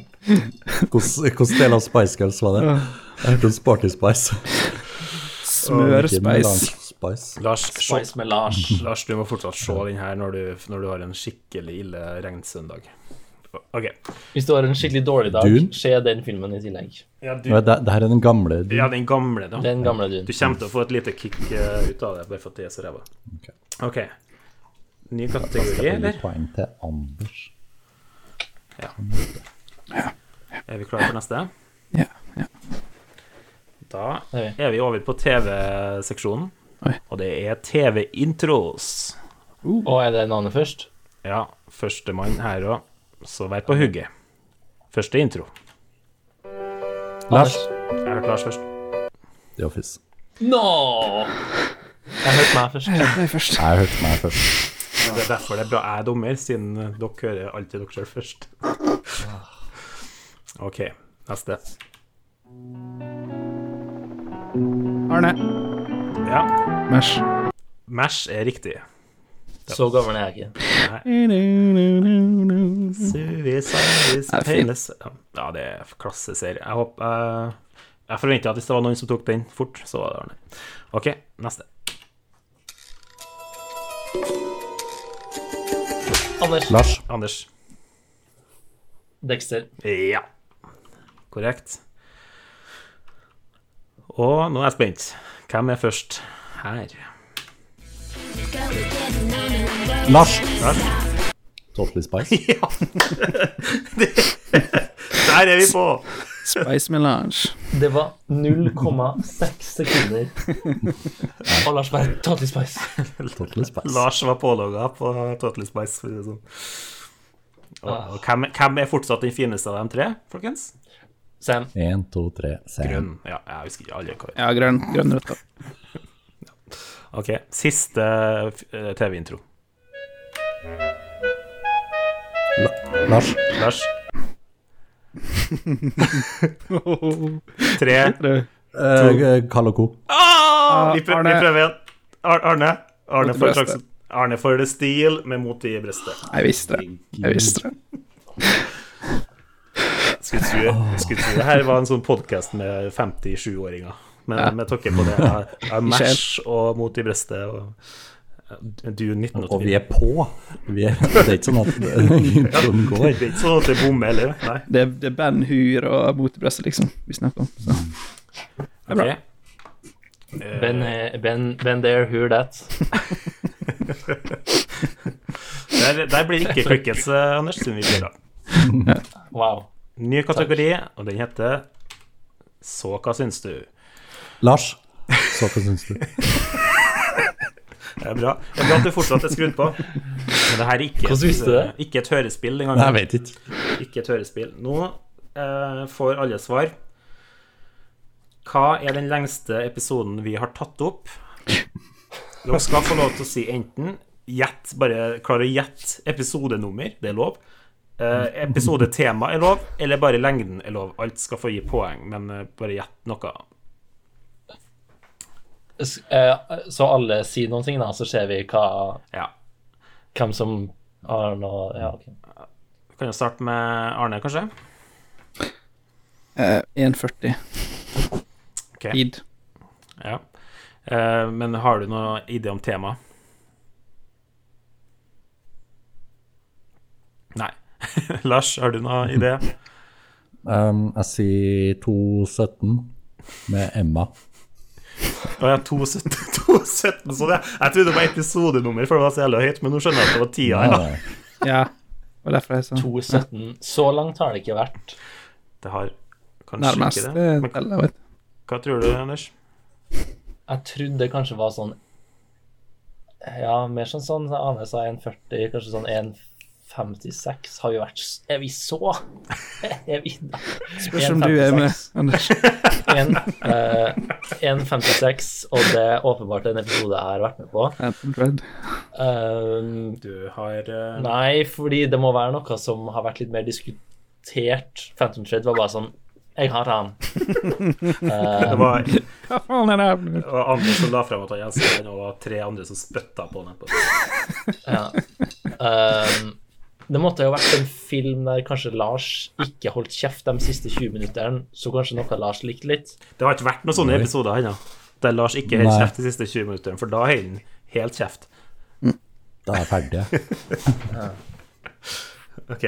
Hvordan hvordan del av Spice Girls var det? Jeg hørte om Sporty Spice. Ikke Smørspice. Melange Spice. Lars, se- Spice med Lars. Lars, du må fortsatt se den her når du, når du har en skikkelig ille regnsøndag. OK. Hvis du har en skikkelig dårlig dag, Dune? se den filmen i tillegg. Ja, du, Nei, Det, det her er den gamle. ja, den gamle, da. Den gamle Du Dune. kommer til å få et lite kick eh, ut av det, bare for at det er så ræva. OK. Ny kategori, Gi eller? Poeng til Anders. Er vi klare for neste? Ja, ja. Da Nei. er vi over på TV-seksjonen, Oi. og det er TV-intros. Å, er det navnet først? Ja, førstemann her òg, så vær på hugget. Første intro. Lars. Jeg hørte Lars først. The Office. Nå! Jeg hørte meg først. Det er først. Jeg hørte meg først. Det er derfor det er bra jeg er dommer, siden dere hører alltid dere sjøl først. OK, neste. Arne. Ja, Mæsj. Mash er riktig. Så gammel er jeg ikke. Suicide is Ja, fin. painless. Ja, det er klasseserie. Jeg håper eh, Jeg forventer at hvis det var noen som tok den fort, så var det Arne. OK, neste. Anders. Lars. Anders. Dexter. Ja. Korrekt. Og nå er jeg spent. Hvem er først her? Lars! Totally Spice. Ja! Det- Der er vi på! Spice Melange. Det var 0,6 sekunder. Og Lars bare Totally Spice. Totally Spice. Lars var pålogga på Totally Spice. For å si det sånn. og, og hvem, hvem er fortsatt den fineste av de tre, folkens? Sam. Én, to, tre, Sam. Grønn. Ja, jeg husker ikke alle hva Ja, grønn, grønn rødt. da. Ok, siste eh, TV-intro. La Lars. Lars? Tre Eh, Carl og Co. Ah, vi, prø Arne. vi prøver igjen. Ar Arne. Arne Mot for, brøstet. traksen. Arne for the steel med mot i brystet. Jeg visste det. Jeg visste det. Skulle tro, skulle tro det her var en sånn podkast med 57-åringer. Men med tanke på det jeg- jeg er Mash og mot i brystet og du 1984. Og vi er på! Vi er, det er ikke sånn at introen Det går. er ikke sånn at det bommer heller. Nei. Det, er- det er Ben Hur og Motebrøstet, liksom, vi snakker om. Så. Det er bra. Ok. Ben, eh, ben, ben there, who that? Der, der blir det ikke crickets, eh, Anders, siden vi blir da. Wow. Ny kategori, og den heter Så hva syns du? Lars, så hva syns du? Det er bra. Det er bra at du fortsatt er skrudd på. Men det her er ikke, Hvordan visste du det? et, ikke et hørespill engang. Nei, jeg vet ikke. Ikke et hørespill. Nå eh, får alle svar. Hva er den lengste episoden vi har tatt opp? Dere skal få lov til å si enten gjett, bare klar å gjette episodenummer, det er lov. Eh, episodetema er lov, eller bare lengden er lov. Alt skal få gi poeng, men eh, bare gjett noe. S- eh, Så alle sier noen ting, da, så ser vi hva, Ja. hvem som har noe Ja, ok. Vi kan jo starte med Arne, kanskje? Eh, 1,40 Ok. tid. Ja. Eh, men har du noen idé om tema? Nei. Lars, har du noen idé? Um, jeg sier 2.17 med Emma. Å ja, 217, 217 så det. sånn, Jeg trodde det var episodenummer, for det var så jævlig høyt, men nå skjønner jeg at det var tida. Ja. Nei, Ja, og derfor er jeg sånn 2.17. Så langt har det ikke vært. Det har kanskje nærmest ikke det. eh, Men teller, vet du. hva tror du, Anders? Jeg trodde det kanskje var sånn Ja, mer sånn sånn Ane sa 1,40, kanskje sånn 1,56. Har vi vært s- Er vi så? Er vi da? Spørs om du er med, Anders. 1,56, eh, og det er åpenbart en episode jeg har vært med på. Phantom Thread. Um, Du har eh, Nei, fordi det må være noe som har vært litt mer diskutert. Phantom Thread var bare sånn Jeg har han. Det var, det Hva faen er det her? for noe? var Anders som la frem at han elsket den, og det var tre andre som spytta på den etterpå. Ja. Um, det måtte jo vært en film der kanskje Lars ikke holdt kjeft de siste 20 minuttene, så kanskje noe Lars likte litt. Det har ikke vært noen sånne episoder ennå. Der Lars ikke Nei. holder kjeft de siste 20 minuttene, for da holder han helt kjeft. Da er jeg ferdig. Ok.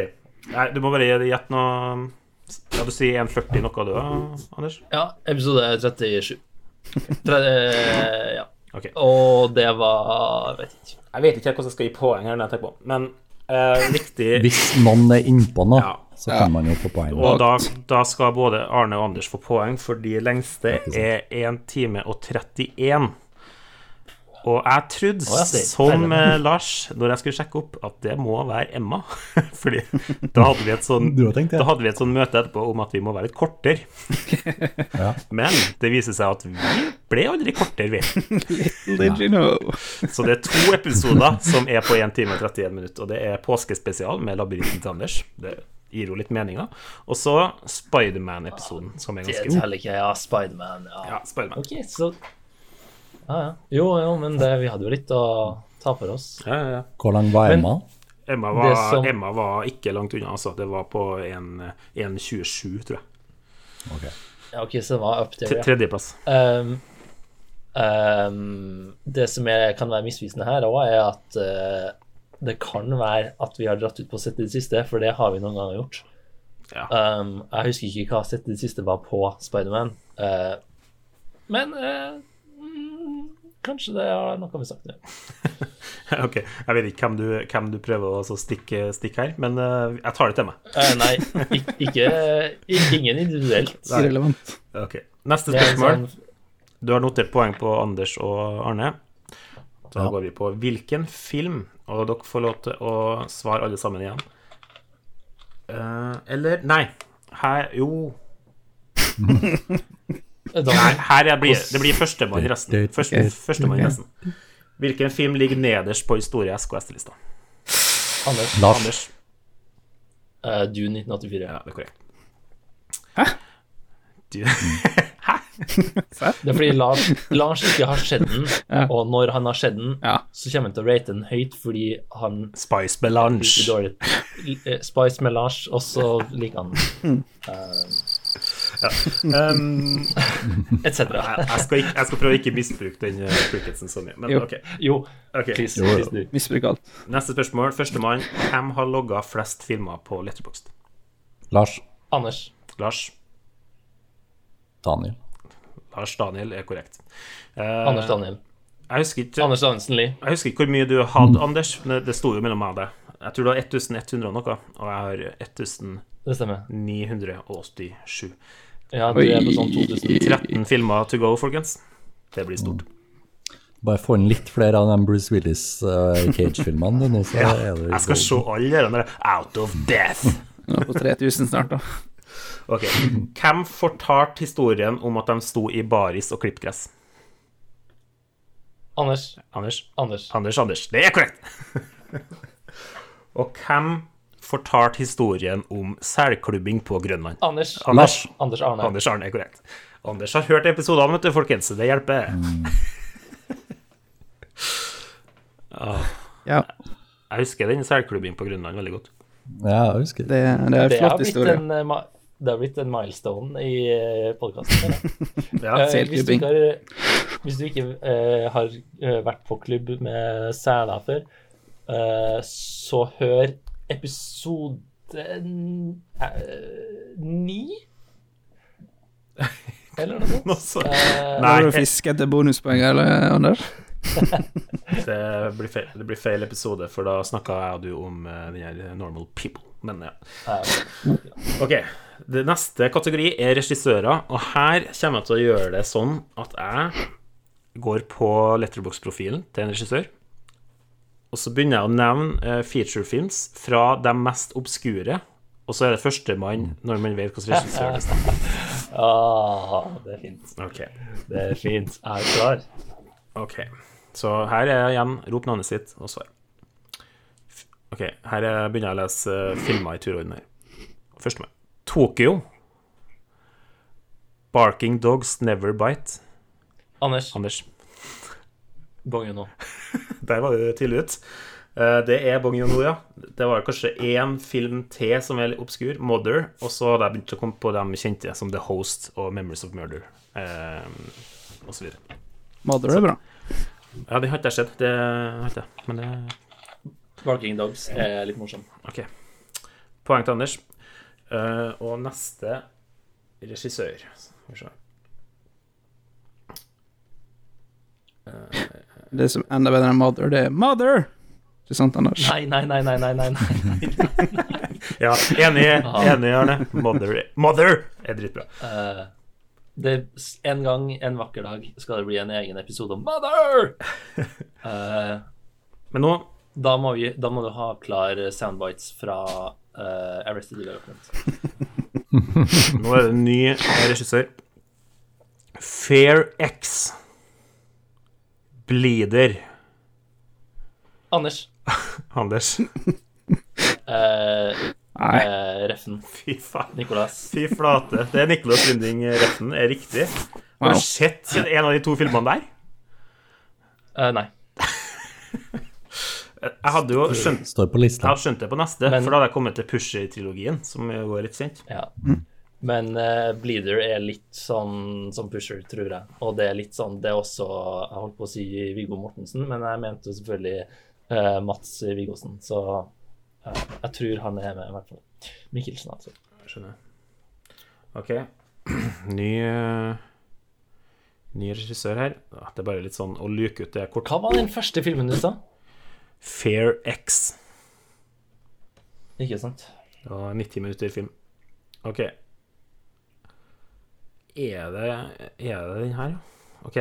Nei, du må bare gi- gjette noe Ja, du sier 1,40 noe, du òg, Anders? Ja, episode 37. Tre, eh, ja. Ok. Og det var Vet ikke. Jeg vet ikke helt hvordan jeg skal gi poeng her, når jeg tenker på. men eh, riktig Hvis noen er innpå nå, Ja. så kan man jo få poeng. Og da, da skal både Arne og Anders få poeng, for de lengste er 1 time og 31. Og jeg trodde, Å, ja, det er som feil. eh, Lars, når jeg skulle sjekke opp, at det må være Emma. Fordi da hadde vi et sånn, Du har tenkt det. da hadde vi et sånn møte etterpå om at vi må være litt kortere. Ja. Men det viser seg at vi ble aldri kortere, vi. Did you know? Så det er to episoder som er på 1 time og 31 minutter. Og det er påskespesial med labyrinten til Anders. Det gir jo litt meninger. Og så Spiderman-episoden, som er Det ganske teller ikke. Ja, Spiderman. Ja. Ja, Spiderman. Ok, så Ja, ja. Jo, jo, men det, vi hadde jo litt å ta for oss. Ja, ja, ja. Hvor lang var Men- Emma? Emma Det var, som- Emma var ikke langt unna, altså. Det var på en- 1,27, tror jeg. Ja, ok, så det var up there, Tre- ja. Tredjeplass. Ehm, ehm, det som er, kan være misvisende her òg, er at eh, det kan være at vi har dratt ut på sett i det siste, for det har vi noen ganger gjort. Ja. Ehm, jeg husker ikke hva sett i det siste var på Spiderman, uh, men eh, mm, kanskje det har noe med saken å gjøre. Ok, Jeg vet ikke hvem du, hvem du prøver å så stikke, stikke her, men eh, jeg tar det til meg. Eh, nei, ikke, ikke i- Ingen individuelt. Irrelevant. Ok, Neste Det er en spørsmål. sånn- Du har notert poeng på Anders og Arne. Da går vi på hvilken film, og dere får lov til å svare alle sammen igjen. Eh, eller Nei. Her Jo. da- Her, her jeg blir, det blir førstemann i resten. Første, Ok. førstemann i resten. Hvilken film ligger nederst på historie SKS-lista? Anders, Lars? Anders. eh, Dune 1984. Ja, det er korrekt. Hæ? Du, Det er fordi Lars, Lars ikke har sett den, og når han har sett den, Ja. så kommer han til å rate den høyt fordi han Spice liker Melange. dårlig eh, Spice med Lars, og så liker han den, Um, etc. jeg, jeg, skal ikke, jeg skal prøve å ikke misbruke den eh, cricketsen så mye. Men Jo. ok. Jo, ok. please. Jo, jo. please do. Misbruk alt. Neste spørsmål. Førstemann. Hvem har logga flest filmer på Letterboxd? Lars? Anders. Lars. Daniel? Lars Daniel er korrekt. Eh, Anders Daniel. jeg, husker ikke, Anders Danielsen Lie. jeg husker ikke hvor mye du hadde, Anders. Men det- det sto jo mellom meg og deg. Jeg tror det var 1100 og noe, og jeg har 1987. Det stemmer. Ja, du Oi. er på sånn 2000. 13 filmer to go, folkens. Det blir stort. Bare få inn litt flere av de Bruce Willis eh, Cage-filmene, du, nå så er det Jeg skal se alle de der Out of Death. Nå er det på 3000 snart, da. Ok, Hvem fortalte historien om at de sto i baris og klippet gress? Anders. Anders? Anders. Anders, Anders. Det er korrekt! og hvem fortalte historien om selklubbing på Grønland? Anders. Anders. Anders Arne. Anders Arne er korrekt. Anders har hørt episodene, vet du, folkens. så Det hjelper. Ja, Jeg husker den selklubbing på Grønland veldig godt. Ja, jeg husker det. det, det er en Det har flott blitt historie. en, eh, ma- det har blitt en milestone i eh, podkasten. Ja, Eh, hvis, du Selklubbing. ikke har, hvis du ikke eh, har eh, vært på klubb med seler før, eh, så hør episode n- eh, ni? Eller noe sånt. Nå så- Eh, Har Nei, du fisk etter bonuspoeng, eller, Anders? det blir, feil, det blir feil episode, for da snakka jeg og du om eh, den her Normal People. Men ja. eh, Ok, det neste kategori er regissører, og her kommer jeg til å gjøre det sånn at jeg går på letterbox-profilen til en regissør, og så begynner jeg å nevne eh, featurefilms fra de mest obskure, og så er det førstemann når man vet hvilken regissør det er. ah, det er fint. Ok, Det er fint. Jeg er klar. ok. Så her er igjen, rop navnet sitt og svar. F- Ok, her er, begynner jeg å lese eh, filmer i turorden her. Førstemann. Tokyo. Barking Dogs Never Bite. Anders, Anders. bong jo nå. Der var du tidlig ut. Eh, Det er Bong Joon-ho, ja. Det var kanskje én film til som er litt obskur, 'Mother', og så hadde jeg begynt å komme på de kjente som 'The Host' og 'Memories of Murder'. eh, Og så videre. Mother er bra. Ja, det har ikke jeg sett. Det har ikke jeg. Men det Barking Dogs er litt morsom. OK. Poeng til Anders. Eh, Og neste regissør Skal vi se. Det som er enda bedre enn Mother, det er Mother! Ikke sant, Anders? Nei, nei, nei, nei, nei, nei. nei. Ja, enig, enig Arne. 'Mother', Mother er dritbra. Eh, det, en gang, en vakker dag, skal det bli en egen episode om Mother! Eh, Men nå Da må, vi, da må du ha klar soundbites fra eh, Arrested Development. Nå er det en ny eh, regissør. Fair X. Bleeder. Anders. Anders. eh, Nei. eh, Reffen. Fy faen. Nicolas. Fy flate. Det er Nicolas Linding Reften er eh, riktig. Har Wow. du sett en av de to filmene der? Eh, nei. Jeg hadde jo skjønt, Står på jeg lista. hadde skjønt det på neste, Men- for da hadde jeg kommet til Pusher-trilogien, som jo var litt kjent. Ja. Men eh, Bleeder er litt sånn som Pusher, tror jeg. Og det er litt sånn Det er også Jeg holdt på å si Viggo Mortensen, men jeg mente jo selvfølgelig eh, Mats Viggosen. Så eh, jeg tror han er med, i hvert fall. Mikkelsen, altså. Skjønner. OK. Ny eh, Ny regissør her. Ah, Det er bare litt sånn å luke ut det kort. Hva var den første filmen du sa? Fair X. Ikke sant? Det var 90 minutter film. OK. Er det Er det den her, ja? OK.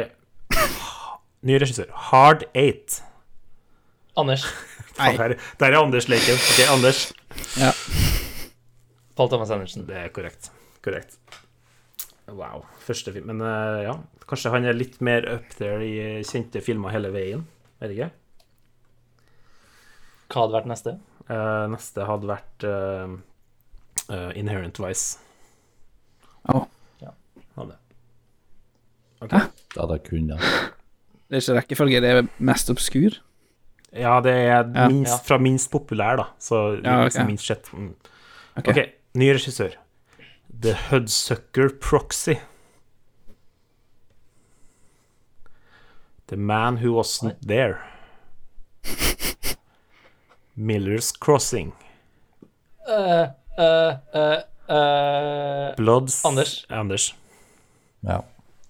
Ny regissør. Hard Eight. Anders. Faen, Der, der er Anders leken. OK, Anders. Paul Thomas Andersen. Det er korrekt. Korrekt. Wow. Første film. Men eh, ja, kanskje han er litt mer up there i eh, kjente filmer hele veien. Vet ikke. Hva hadde vært neste? Eh, neste hadde vært eh, eh, Inherent Vice. Å, Hadde. Da da kunne det er ikke rekkefølge, det er mest obskur. Ja, det er Ja. minst, Ja. fra minst populær, da. Så Ja, liksom ok. minst sett. Mm. Ok. OK, ny regissør. The Hudsucker Proxy. The Man Who Wasn't There. Miller's Crossing. Eh, eh, eh, eh, Bloods Anders. Anders. Ja.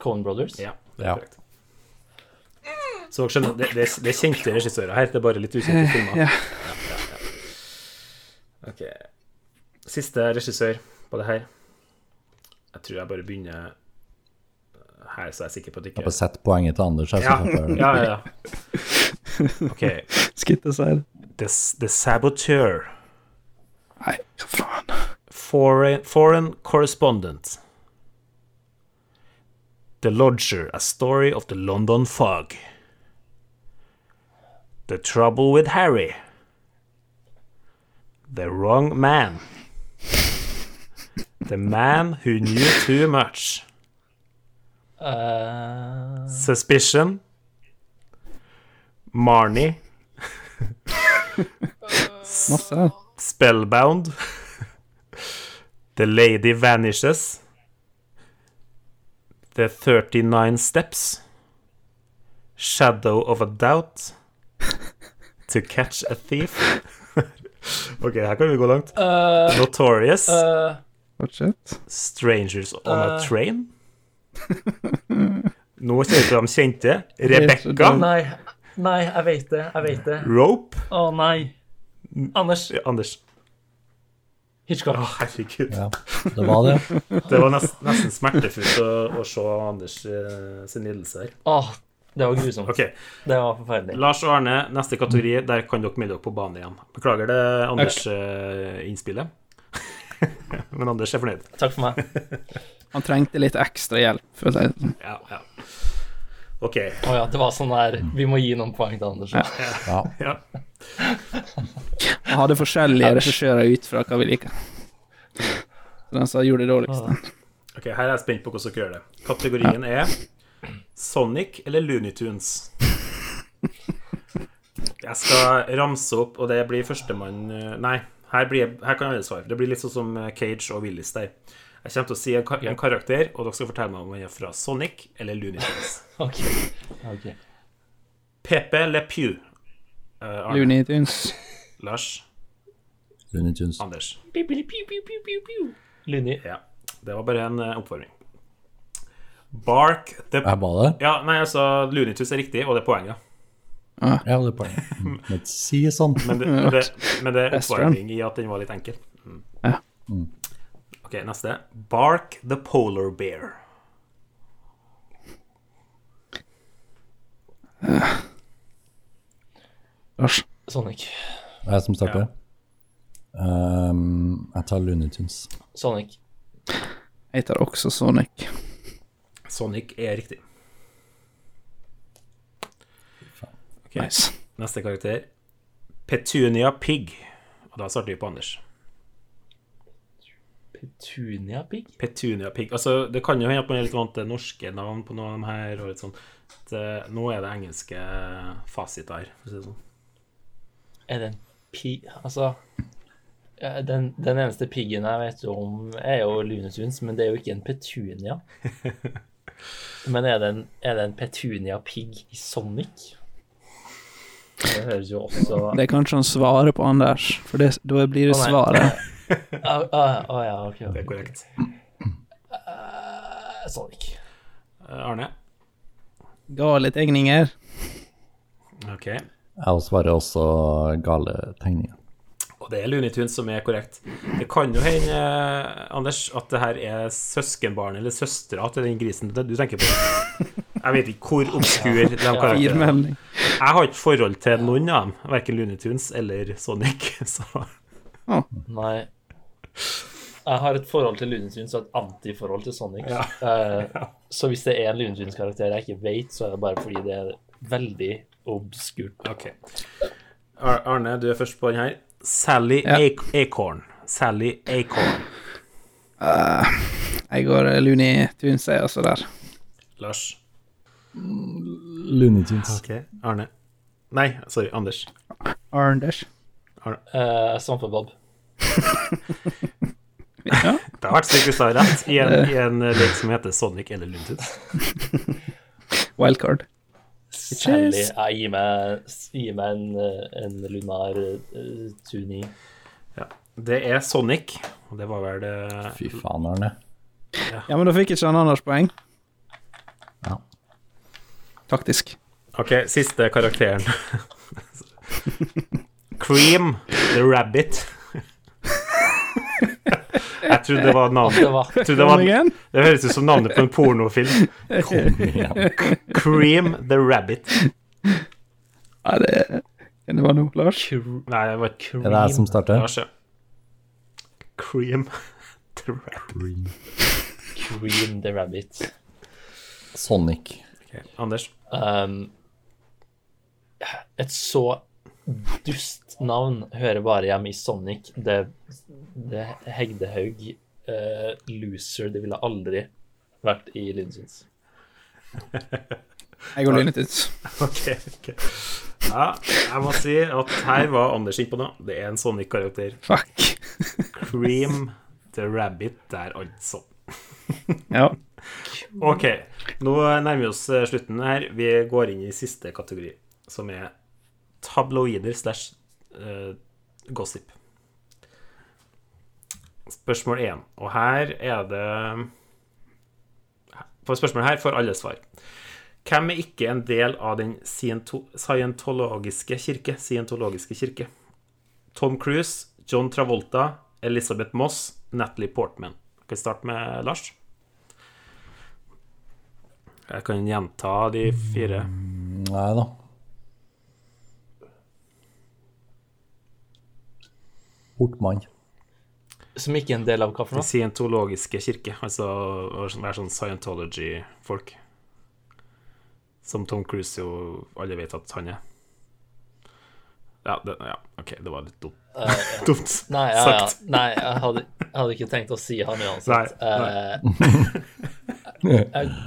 Coen Brothers. Ja, det er Ja. korrekt. Så dere skjønner, det, det, er- det er kjente regissører her, det er bare litt ukjente filmer. Eh, Ja, ja, ja. Ok. Siste regissør på det her. Jeg tror jeg bare begynner her, så er jeg sikker på at det Jeg ikke har bare sett poenget til Anders. Jeg, så Ja, klart jeg- ja, ja. ja. OK. Skutt å si det. The, the Saboteur. Nei, hva faen. Foreign, foreign Correspondent. The Lodger, A Story of the London Fog. The Trouble with Harry. The Wrong Man. The Man Who Knew Too Much. Eh, Suspicion. Marnie. Masse. Spellbound. The Lady Vanishes. The 39 Steps. Shadow of a Doubt. To Catch a Thief. ok, her kan vi gå langt. eh, Notorious. eh, Fortsett. Strangers on a eh. Train. Nå kjenner du de kjente. Rebekka. dumt. nei. Nei, jeg vet det. Jeg vet det. Rope. Å nei. Anders. Ja, Anders. Hitchcock. Å, herregud. Ja. Det var det. Det var nesten, nesten smertefullt å, å se Anders eh, sin lidelse her. Åh, det var grusomt. Ok, Det var forferdelig. Lars og Arne, neste kategori, der kan dere melde dere på banen igjen. Beklager det Anders-innspillet. Men Anders er fornøyd. Takk for meg. Han trengte litt ekstra hjelp, for å si det sånn. Ja, ja. OK. Å ja, det var sånn der Vi må gi noen poeng til Anders. Ja. Ja. Han hadde forskjellige regissører ut fra hva vi liker. Så den som gjorde det dårligste. Ok, Her er jeg spent på hvordan dere gjør det. Kategorien er Sonic eller Looney Tunes. Jeg skal ramse opp, og det blir førstemann eh, Nei, her, blir, her kan alle svare. Det blir litt sånn som eh, Cage og Willis der. Jeg kommer til å si en, kar en karakter, og dere skal fortelle meg om han er fra Sonic eller Looney Tunes. Ok. Ok. Pepe Le Pew. Eh, Arne, Looney Tunes. Lars, Looney Tunes. Anders. Luni. Ja. Det var bare en eh, oppvarming. Bark the Jeg var det. Ja, nei, altså Lunitus er riktig, og det er poenget. Ja, det er poenget. Men ikke si sånn. Men det, men det, men det er Mm, Best oppvarming i at den var litt enkel. Mm. Ja. OK, neste. Bark the polar bear. Lars. Sonic. Det er jeg som starter. Ehm, jeg tar Looney Tunes. Sonic. Jeg tar også Sonic. Sonic er riktig. Ok, Nice. Neste karakter. Petunia Pig. Og da starter vi på Anders. Petunia pig? Petunia pig. Altså, det kan jo hende at man er litt vant til norske navn på noen av dem her. Og litt sånn. Det- Nå er det engelske fasiter her, for å si det sånn. Er det en pig Altså eh, den, den eneste piggen jeg vet om, er jo lunetunes, men det er jo ikke en petunia. Men er det en, er det en petunia-pigg i Sonic? Det høres jo også Det er kanskje han svarer på Anders, for det, da blir det Å, nei. svaret. Å å, å Ah, ja, OK. Det ok. er korrekt. Eh, Sonic. Eh, Arne? Gale tegninger. OK. Jeg svarer også gale tegninger. Og det er Lunitunes som er korrekt. Det kan jo hende, eh, Anders, at det her er søskenbarnet eller søstera til den grisen du tenker på. Jeg vet ikke hvor obskur de Gir karakterene er. melding. Jeg har ikke forhold til noen av dem, verken Lunitunes eller Sonic. Så Nei. Jeg har et forhold til lunetunes og et antiforhold til Sonic. Ja. Eh, så hvis det er en lunetunes-karakter jeg ikke vet, så er det bare fordi det er veldig obskurt. OK. Ar- Arne, du er først på den her. Sally Ja. Ac- Acorn. Sally Acorn. Jeg går eh, Looney Tunes, jeg, altså, der. Lars. Looney Tunes. OK. Arne. Nei, sorry. Anders. Arenders. Uh, Svampebob. Ja. Det har vært stygt å rett i en, i en lek som heter Sonic eller Lunitunes. Wildcard. Sally. Jeg gir meg, gir meg en, eh, en lunar uh, tuni. Ja. Det er Sonic, og det var vel det Fy faen, Arne. Ja, men da fikk ikke han Anders poeng. Ja. Taktisk. OK, siste karakteren. Cream the Rabbit. Jeg trodde det var navnet. Det var Jeg trodde det, var, igjen? det høres ut som navnet på en pornofilm. Cream the Rabbit. Ja, det Det var noe, Lars. Nei, det var Er det jeg som starter? Lars, ja. Cream the Rabbit. Cream the Rabbit. Sonic. Ok, Anders. Um, et så dust navn hører bare hjemme i Sonic. Det, det Hegdehaug eh, Loser. Det ville aldri vært i Lindsyns. Jeg går Looney Tunes. Ok, ok. Ja, jeg må si at her var Anders innpå noe. Det er en Sonic-karakter. Fuck. Cream the Rabbit der, altså. Ja. Ok, nå nærmer vi oss eh, slutten her. Vi går inn i siste kategori, som er tabloider slash eh, gossip. Spørsmål 1. Og her er det For spørsmålet her får alle svar. Hvem er ikke en del av den sciento- scientologiske kirke? Scientologiske kirke? Tom Cruise, John Travolta, Elizabeth Moss, Natalie Portman. Kan vi starte med Lars? Jeg kan gjenta de fire. Nei da. Portmann. Som ikke er en del av hva for noe? Scientologiske kirke. Altså å være sånn scientology-folk. Som Tom Cruise jo alle vet at han er. Ja, det, ja OK, det var litt dumt. dumt Nei, Eh, ja, ja. sagt. Nei jeg hadde, jeg hadde ikke tenkt å si han uansett. Nei, nei. Eh,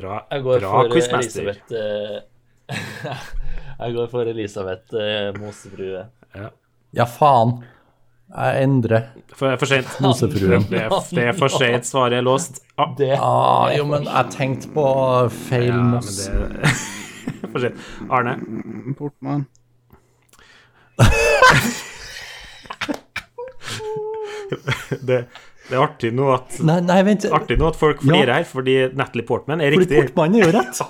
Bra, jeg går bra for quizmaster. Elisabeth eh, Jeg går for Elisabeth eh, Mosebrue. Ja, faen! Jeg endrer. For, for sent. Mosefruen. Det er, det er for sent. Svaret er låst. Ah, Det Ah, jo, men jeg tenkte på feil ja, men Moss. det For sent. Arne. Portmann. Det, det er artig nå at Nei, nei, vent. Artig nå at folk Ja. flirer her, fordi Natalie Portman er Fordi riktig. Portmann er jo rett.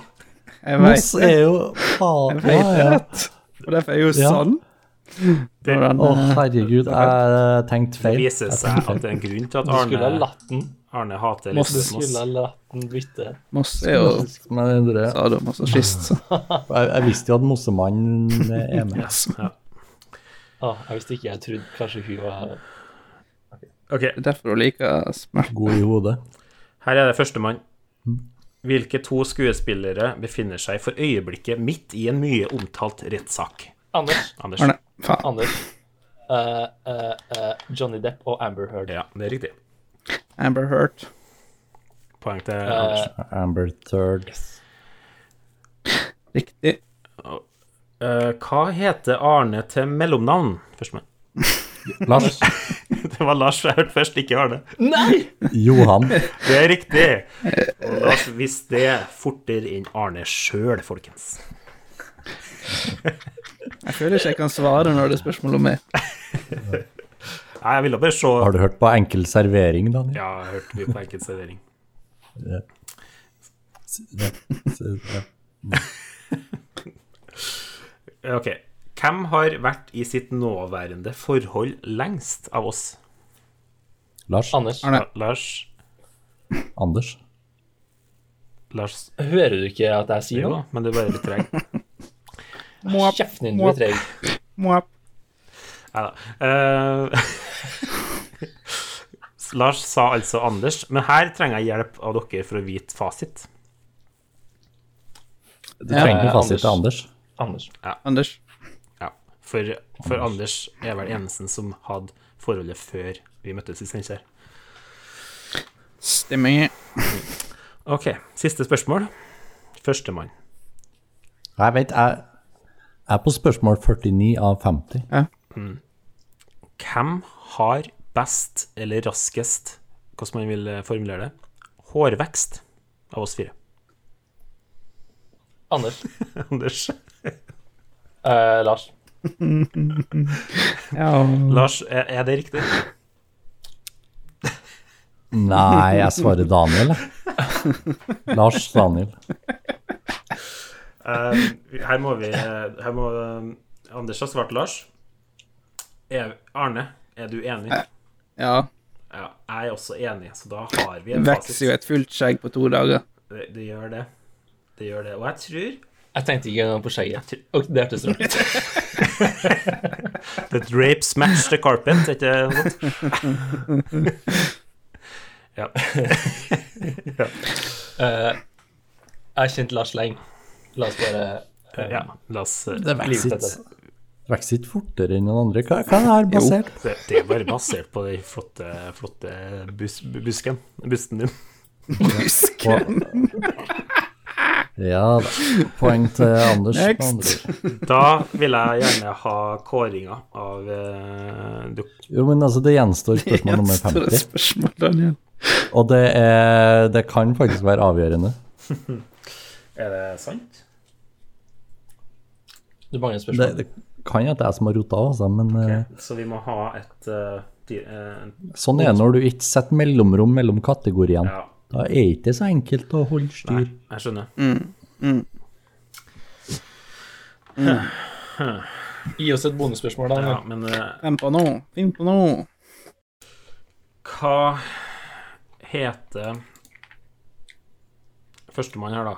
Jeg Moss vet det. er jo faen. Jeg vet Ja, det ja. rett. Og derfor er jeg jo Ja. Sånn. sann. Det- Når han, Å, herregud, jeg eh, tenkte Det feil. viser seg at det er en grunn til at skulle ha Arne, latt den. Arne hater Moss. Elisabeth Moss. Skulle ha latt den bytte. Moss er jo Men jeg, endrer. sadomasochist, så. jeg, jeg visste jo at Mossemannen er med. Ah, jeg visste ikke, jeg trodde kanskje hun var Ok, Det er derfor hun liker smerte. God i hodet. her er det førstemann. Hvilke to skuespillere befinner seg for øyeblikket midt i en mye omtalt rettssak? Anders. Anders. Arne. Faen. Anders. Eh, eh, eh, Johnny Depp og Amber Heard. Ja, det er riktig. Amber Hurt. Poeng til Eh. Anders. Amber Third. Riktig. Eh, hva heter Arne til mellomnavn? Førstemann. Lars. Det var Lars jeg hørte først, ikke Arne. Johan. Det er riktig. Og Lars visste det fortere enn Arne sjøl, folkens. Jeg føler ikke jeg kan svare når det er spørsmål om meg. Nei, jeg ville bare se Har du hørt på enkel servering, Daniel? Ja, jeg hørte mye på enkel servering. Ja. Eh, Ok. Hvem har vært i sitt nåværende forhold lengst av oss? Lars. Anders, Arne. Ja, Lars? Anders. Lars hører du ikke at jeg sier Jo noe? da, men du er bare litt treg. Kjeften din, du er treg. Mwap. Nei da. Eh, Lars sa altså Anders, men her trenger jeg hjelp av dere for å vite fasit. Du trenger Eh, ikke fasit til Anders. Anders. Anders. Anders. Ja, for, for Anders er vel eneste som hadde forholdet før vi møttes i Steinkjer. Stemmer. OK, siste spørsmål. Førstemann. Jeg vet, jeg jeg er på spørsmål 49 av 50. Hvem har best eller raskest, hvordan man vil eh, formulere det, hårvekst av oss fire? Anders. Anders. Eh, Lars. Ja. Lars, er er det riktig? Nei, jeg svarer Daniel, jeg. Lars Daniel. Eh, her må vi her må, eh, Anders har svart Lars. Er, Arne, er du enig? ja. Ja, jeg er også enig, så da har vi en Vokser jo fasit. et fullt skjegg på to dager. Det, det gjør det. Det gjør det. Og jeg tror Jeg tenkte ikke engang på skjegget. Og det hørtes rart ut. The drapes match the carpet, er ikke det noe sånt? ja. Eh, jeg har kjent Lars lenge. La oss bare ja. La oss eh, Det vokser ikke. vokser ikke fortere enn noen andre. Hva, hva er det her basert på? Det, det er bare basert på den flotte, flotte bus, busken. Busten din. Ja da. Poeng til Anders. med Next. andre ord. Da vil jeg gjerne ha kåringa av eh, dok- Jo, men altså, det gjenstår spørsmål nummer Gjenstår det 50. spørsmål, Daniel? Og det, er, det kan faktisk være avgjørende. Er det sant? Du mangler et Det, spørsmål. det kan jo at det er jeg som har rota, altså, men eh, Så vi må ha et eh, di- eh, sånn er det når du ikke setter mellomrom mellom kategoriene. Ja, Da er det ikke så enkelt å holde nei, styr. jeg skjønner. Gi oss et bonusspørsmål, da. Ja, men eh, Finn på noe. Finn på noe. hva heter Førstemann her, da.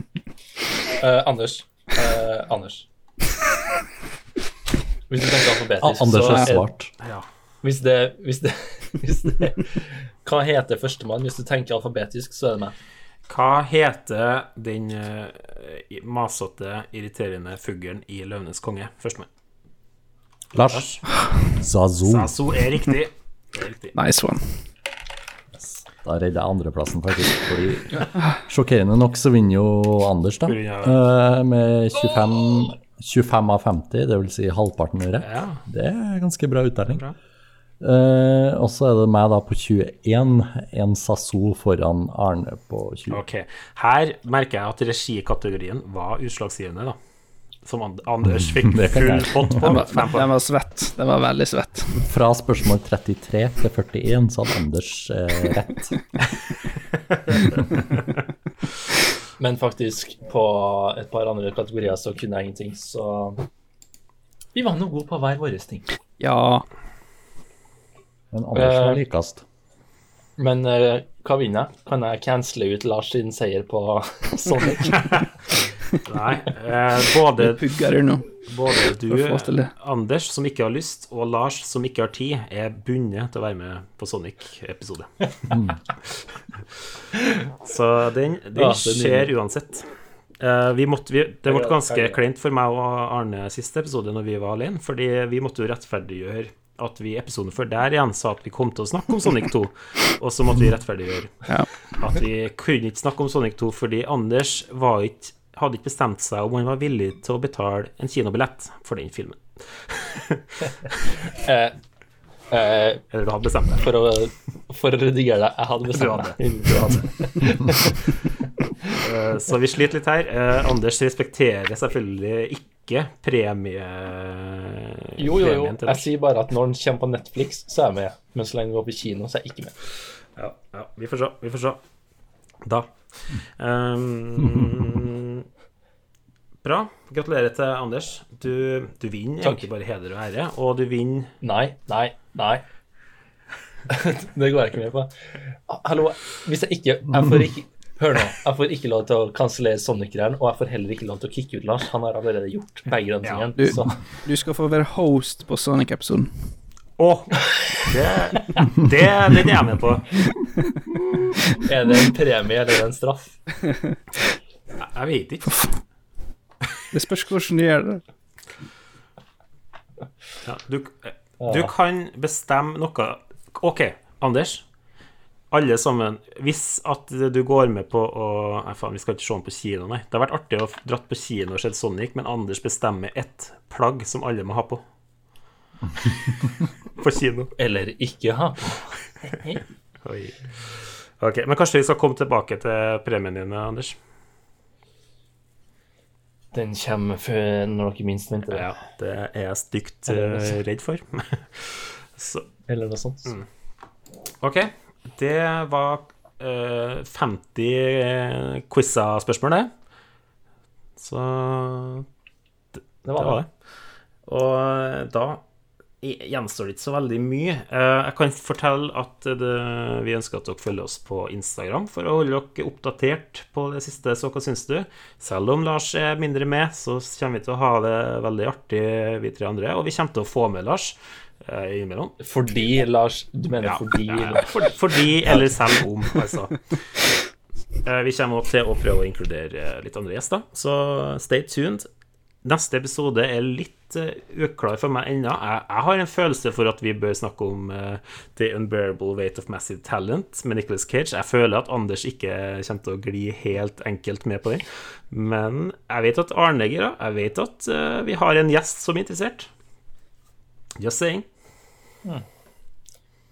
Eh, Anders. Eh, Anders. Hvis du tenker Ah, alfabetisk, Anders så har er- svart. Ja. Hvis det, hvis det, hvis det Hva heter førstemann? Hvis du tenker alfabetisk, så er det meg. Hva heter den eh, i- masete, irriterende fuglen i 'Løvenes konge'? Førstemann. Lars Zazo. Saso er riktig. Det er riktig. Nice one. Da redder jeg andreplassen, faktisk. Fordi sjokkerende nok så vinner jo Anders, da. Ja. eh, Med 25, 25 av 50, det vil si halvparten rett. Ja. Det er ganske bra uttelling. Eh, og så er det meg da på 21, en Sasso foran Arne på 20. Ok. Her merker jeg at regikategorien var utslagsgivende, da. Som And- Anders fikk Det kan full jeg. pott på. Den var, Fem den poeng. var svett. Den var veldig svett. Fra spørsmål 33 til 41 så hadde Anders eh, rett. Men faktisk, på et par andre kategorier så kunne jeg ingenting, så Vi var nå gode på hver vår ting. Ja. Men Anders var Eh. likest. Men eh, hva vinner jeg? Kan jeg cancele ut Lars sin seier på Sonic? Nei. Eh, både, Pugger du nå? både For å få til du, det. Anders, som ikke har lyst, og Lars, som ikke har tid, er bundet til å være med på Sonic-episode. Mm. Så den, Ja, den det er skjer nydelig. uansett. Eh, vi måtte, vi, det ble Ja, ganske ja. kleint for meg og Arne siste episode når vi var alene, fordi vi måtte jo rettferdiggjøre at vi i episoden før der igjen sa at vi kom til å snakke om Sonic 2, og så måtte vi rettferdiggjøre Ja. at vi kunne ikke snakke om Sonic 2 fordi Anders var ikke, hadde ikke bestemt seg om han var villig til å betale en kinobillett for den filmen. Eh, Eller du hadde bestemt deg. for, å, for å redigere deg. Jeg hadde Du bestemt hadde. meg. Du hadde. Eh, Så vi sliter litt her. Eh, Anders respekterer selvfølgelig ikke premie... Jo, jo, jo. premien til Jeg det. sier bare at når den kommer på Netflix, så er jeg med. Men så lenge den går på kino, så er jeg ikke med. Ja, ja, vi får se. Vi får se. Da. Ehm, bra. Gratulerer til Anders. Du, du vinner Takk. egentlig bare heder og ære, og du vinner Nei, nei, nei. det går jeg ikke med på. Ah, Hallo, hvis jeg ikke Jeg får ikke Hør nå. Jeg får ikke lov til å kansellere Sonic-greiene, og jeg får heller ikke lov til å kicke ut Lars. Han har allerede gjort begge de tingene. Du, så du skal få være host på Sonic-episoden. Å! Det, det, det er jeg med på. er det en premie eller en straff? Jeg vet ikke. Det spørs hvordan du gjør det. Ja, du, du kan bestemme noe OK, Anders. Alle sammen. Hvis at du går med på å Nei, faen, vi skal ikke se den på kino, nei. Det har vært artig å f- dratt på kino og sett Sonic, men Anders bestemmer ett plagg som alle må ha på. på kino. Eller ikke ha. Oi. Ok, Men kanskje vi skal komme tilbake til premien din, Anders. Den kommer før når dere minst venter det. Ja, det er jeg stygt eh, redd for. Så Eller noe sånt. Mm. Ok, det var eh, 50 quiz-spørsmål, det. Så Det det var var det. det. Og eh, da i- gjenstår det ikke så veldig mye. Eh, jeg kan fortelle at eh, det, vi ønsker at dere følger oss på Instagram for å holde dere oppdatert på det siste. Så hva syns du? Selv om Lars er mindre med, så kommer vi til å ha det veldig artig, vi tre andre. Og vi kommer til å få med Lars uh, innimellom. Fordi, Lars Du mener Ja. fordi Ja, ja. For, fordi eller selv om, altså. Eh, Vi kommer opp til å prøve å inkludere eh, litt andre gjester, så stay tuned. Neste episode er litt eh, uklar for meg ennå. Jeg, jeg har en følelse for at vi bør snakke om eh, The Unbearable Weight of Massive Talent med Nicolas Cage. Jeg føler at Anders ikke kommer til å gli helt enkelt med på den. Men jeg vet at Arne gir det. Jeg vet at eh, vi har en gjest som er interessert. Just saying.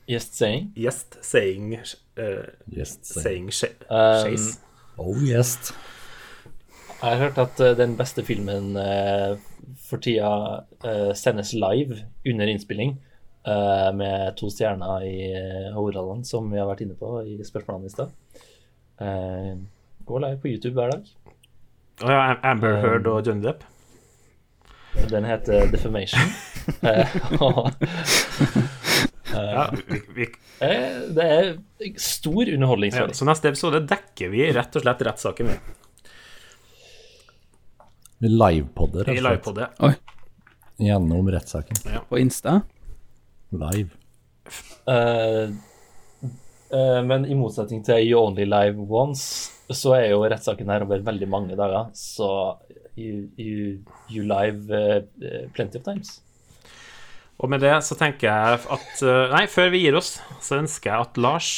Just saying. Gjest saying eh, Yes. saying sh- Um, chase. Oh yes. Jeg har hørt at eh, den beste filmen eh, for tida eh, sendes live under innspilling. eh, med to stjerner i eh, Hordaland, som vi har vært inne på i spørsmålene i stad. Eh, går live på YouTube hver dag. Å ja, Am- Amber Heard og Johnny Depp. Den heter Defamation. Eh, og Ja, uh, vi, vi, eh, det er stor ja, underholdningsverdi. så neste episode dekker vi rett og slett rettssaken vi, Vi livepodder i rett og slett, livepodet. Oi, gjennom rettssaken. på Insta? Live. Eh, eh, men i motsetning til You Only Live Once, så er jo rettssaken her over veldig mange dager. Så you, you, you live eh, eh, plenty of times. Og med det så tenker jeg at eh, Nei, før vi gir oss, så ønsker jeg at Lars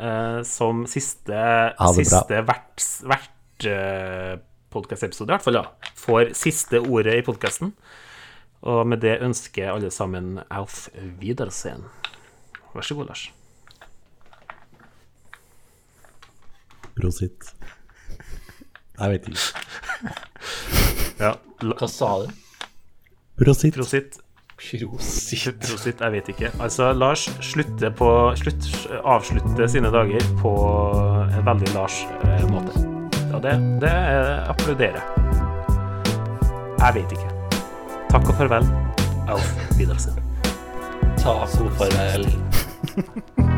eh, som siste, bra. siste verts, vert eh, podcastepisode, i hvert fall, da, får siste ordet i podkasten. Og med det ønsker jeg alle sammen Alf Wiedersehen. Vær så god, Lars. Prosit. Jeg vet ikke. Ja, la, Hva sa du? Prosit. prosit. Prosit. Prosit, jeg vet ikke. Altså, Lars slutter på slutt, avslutter sine dager på en veldig Lars eh, måte. Og det, det eh, applauderer jeg. Jeg vet ikke. Takk og farvel. Alf Widersen. Ta sofaen.